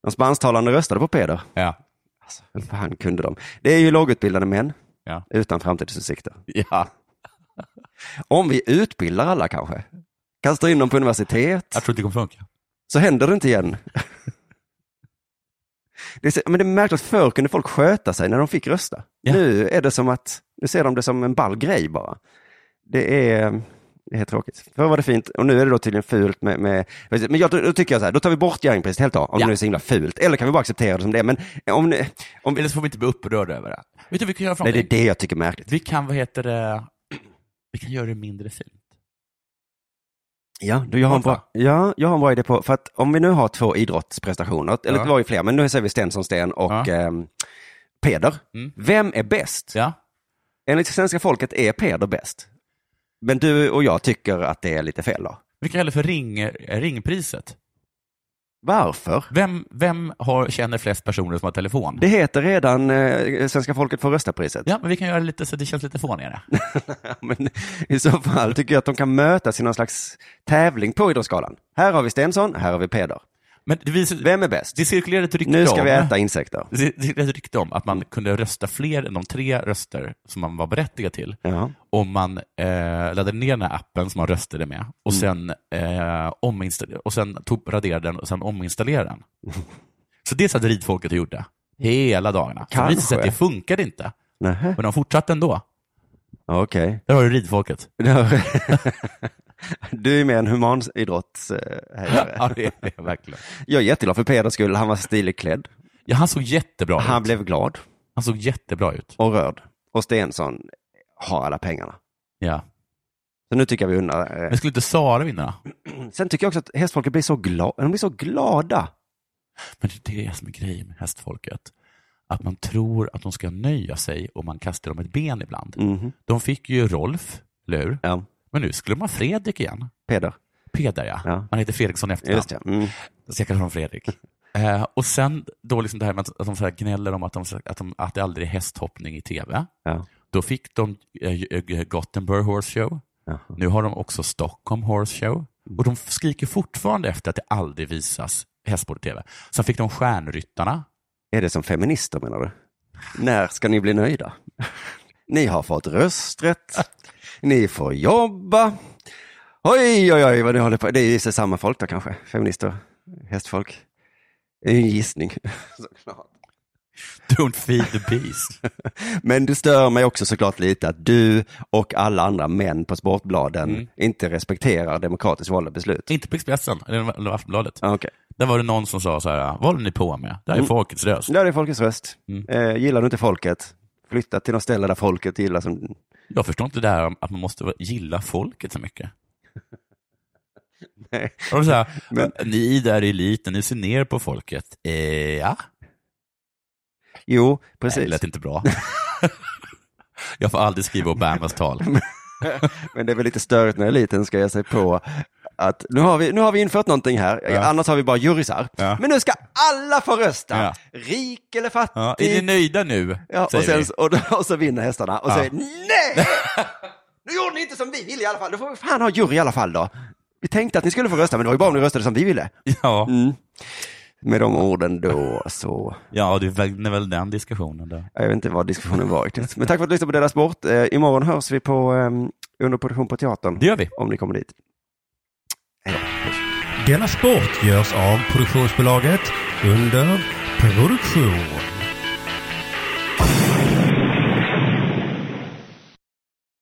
Speaker 3: De spansktalande röstade på Peder.
Speaker 2: Ja.
Speaker 3: Alltså, hur fan kunde de? Det är ju lågutbildade män
Speaker 2: Ja.
Speaker 3: utan framtidsutsikter.
Speaker 2: ja.
Speaker 3: Om vi utbildar alla kanske, kastar in dem på universitet,
Speaker 2: Jag tror inte det kommer funka.
Speaker 3: så händer det inte igen. Det är, så- men det är märkligt att förr kunde folk sköta sig när de fick rösta.
Speaker 2: Ja.
Speaker 3: Nu är det som att, nu ser de det som en ball grej bara. Det är, det är tråkigt. Förr var det fint och nu är det då tydligen fult med, med men jag, då tycker jag så här, då tar vi bort gängpriset helt då, om
Speaker 2: Ja.
Speaker 3: det nu är så himla fult. Eller kan vi bara acceptera det som det är, men om, ni- om
Speaker 2: Eller så får vi inte bli upprörda över det. Vet du, vi kan göra för
Speaker 3: Nej, det är
Speaker 2: någonting?
Speaker 3: det jag tycker är märkligt.
Speaker 2: Vi kan, vad heter det, vi kan göra det mindre fint.
Speaker 3: Ja, du, jag, har en bra, ja, jag har en bra idé på, för att om vi nu har två idrottsprestationer, eller
Speaker 2: Ja.
Speaker 3: det var ju fler, men nu säger vi Stensson Sten och
Speaker 2: Ja.
Speaker 3: ehm, Peder.
Speaker 2: Mm.
Speaker 3: Vem är bäst?
Speaker 2: Ja.
Speaker 3: Enligt svenska folket är Peder bäst. Men du och jag tycker att det är lite fel då.
Speaker 2: Vi kan kalla det för ring, eh, ringpriset.
Speaker 3: Varför?
Speaker 2: Vem, vem har, känner flest personer som har telefon?
Speaker 3: Det heter redan eh, svenska folket får rösta-priset.
Speaker 2: Ja, men vi kan göra det lite så det känns lite fånigare.
Speaker 3: Men I så fall tycker jag att de kan mötas i någon slags tävling på Idrottsgalan. Här har vi Stensson, här har vi Peder.
Speaker 2: Men det, visar,
Speaker 3: Vem är bäst?
Speaker 2: det cirkulerade ett rykte
Speaker 3: Nu ska
Speaker 2: om,
Speaker 3: vi äta insekter.
Speaker 2: Det cirkulerade ett rykte om att man kunde rösta fler än de tre röster som man var berättigad till
Speaker 3: Ja.
Speaker 2: om man eh, laddade ner den här appen som man röstade med och
Speaker 3: Mm.
Speaker 2: sen, eh, ominstall- och sen tog, raderade den och sen ominstallerade den. Så det satt ridfolket och gjorde hela dagarna. Så Det visade sig att det
Speaker 3: Kanske.
Speaker 2: funkade inte,
Speaker 3: Nähä,
Speaker 2: men de fortsatte ändå.
Speaker 3: okej.
Speaker 2: Där har du ridfolket.
Speaker 3: Du är med en humanidrottshejare.
Speaker 2: Ja, det är det verkligen.
Speaker 3: Jag är jätteglad för Peders skull. Han var stiligt klädd.
Speaker 2: Ja, han såg jättebra
Speaker 3: Han
Speaker 2: ut.
Speaker 3: blev glad
Speaker 2: Han såg jättebra ut.
Speaker 3: och rörd. Och Stensson har alla pengarna.
Speaker 2: Ja.
Speaker 3: Så nu tycker jag vi undrar.
Speaker 2: Men skulle inte Sara vinna?
Speaker 3: Sen tycker jag också att hästfolket blir så, gla- de blir så glada.
Speaker 2: Men det är det som är grejen med hästfolket. Att man tror att de ska nöja sig och man kastar dem ett ben ibland.
Speaker 3: Mhm.
Speaker 2: De fick ju Rolf, eller hur?
Speaker 3: Ja,
Speaker 2: Men nu skulle de ha Fredrik igen.
Speaker 3: Peder.
Speaker 2: Peder, ja.
Speaker 3: Ja.
Speaker 2: Han heter Fredriksson i efternamn.
Speaker 3: Just det. Mm.
Speaker 2: Så jag kallar honom Fredrik. eh, och sen då liksom det här med att, att de så här gnäller om att, de, så- att, de, att det aldrig är hästhoppning i tv.
Speaker 3: Ja.
Speaker 2: Då fick de eh, eh, Gothenburg Horse Show.
Speaker 3: Ja.
Speaker 2: Nu har de också Stockholm Horse Show.
Speaker 3: Mm.
Speaker 2: Och de skriker fortfarande efter att det aldrig visas hästsport i tv. Sen fick de Stjärnryttarna.
Speaker 3: Är det som feminister menar du? När ska ni bli nöjda? Ni har fått rösträtt. Ni får jobba. Oj, oj, oj vad ni håller på. Det är ju så samma folk då kanske. Feminister, hästfolk. Det är ju en gissning. såklart.
Speaker 2: Don't feed the beast.
Speaker 3: Men det stör mig också såklart lite att du och alla andra män på Sportbladen inte respekterar demokratiskt valda beslut.
Speaker 2: Inte på Expressen eller eller Aftonbladet.
Speaker 3: Ja, Ah, Okej.
Speaker 2: Där var det någon som sa så här, vad håller ni på med? Det här är
Speaker 3: Mm.
Speaker 2: folkets röst.
Speaker 3: Ja, det är folkets röst.
Speaker 2: Mm.
Speaker 3: Eh, gillar du inte folket, flytta till något ställe där folket gillar som...
Speaker 2: Jag förstår inte det här om att man måste gilla folket så mycket.
Speaker 3: Nej.
Speaker 2: Och de så här, "Äh,
Speaker 3: Men-
Speaker 2: Ni där i eliten, ni ser ner på folket. Eh, ja,
Speaker 3: Jo,
Speaker 2: det
Speaker 3: precis.
Speaker 2: lät inte bra. jag får aldrig skriva Obamas tal.
Speaker 3: Men det är väl lite störigt när eliten ska ge sig på att nu har vi, nu har vi infört någonting här, annars har vi bara jurysar.
Speaker 2: Ja.
Speaker 3: Men nu ska alla få rösta,
Speaker 2: Ja.
Speaker 3: rik eller fattig.
Speaker 2: Ja, är ni nöjda nu?
Speaker 3: Ja, och,
Speaker 2: säger
Speaker 3: sen,
Speaker 2: vi.
Speaker 3: och, då, och så vinner hästarna och
Speaker 2: Ja.
Speaker 3: säger nej! Nu gjorde ni inte som vi ville i alla fall, då får vi fan ha jury i alla fall då. Vi tänkte att ni skulle få rösta, men det var ju bara om ni röstade som vi ville.
Speaker 2: Ja,
Speaker 3: Med de orden då så,
Speaker 2: ja, du vägde väl den diskussionen då.
Speaker 3: jag vet inte vad diskussionen var riktigt. Men tack för att du lyssnade på Della Sport. Eh, imorgon hörs vi på eh, underproduktion på teatern.
Speaker 2: Det gör vi.
Speaker 3: Om ni kommer dit.
Speaker 8: Denna sport görs av produktionsbolaget under produktion.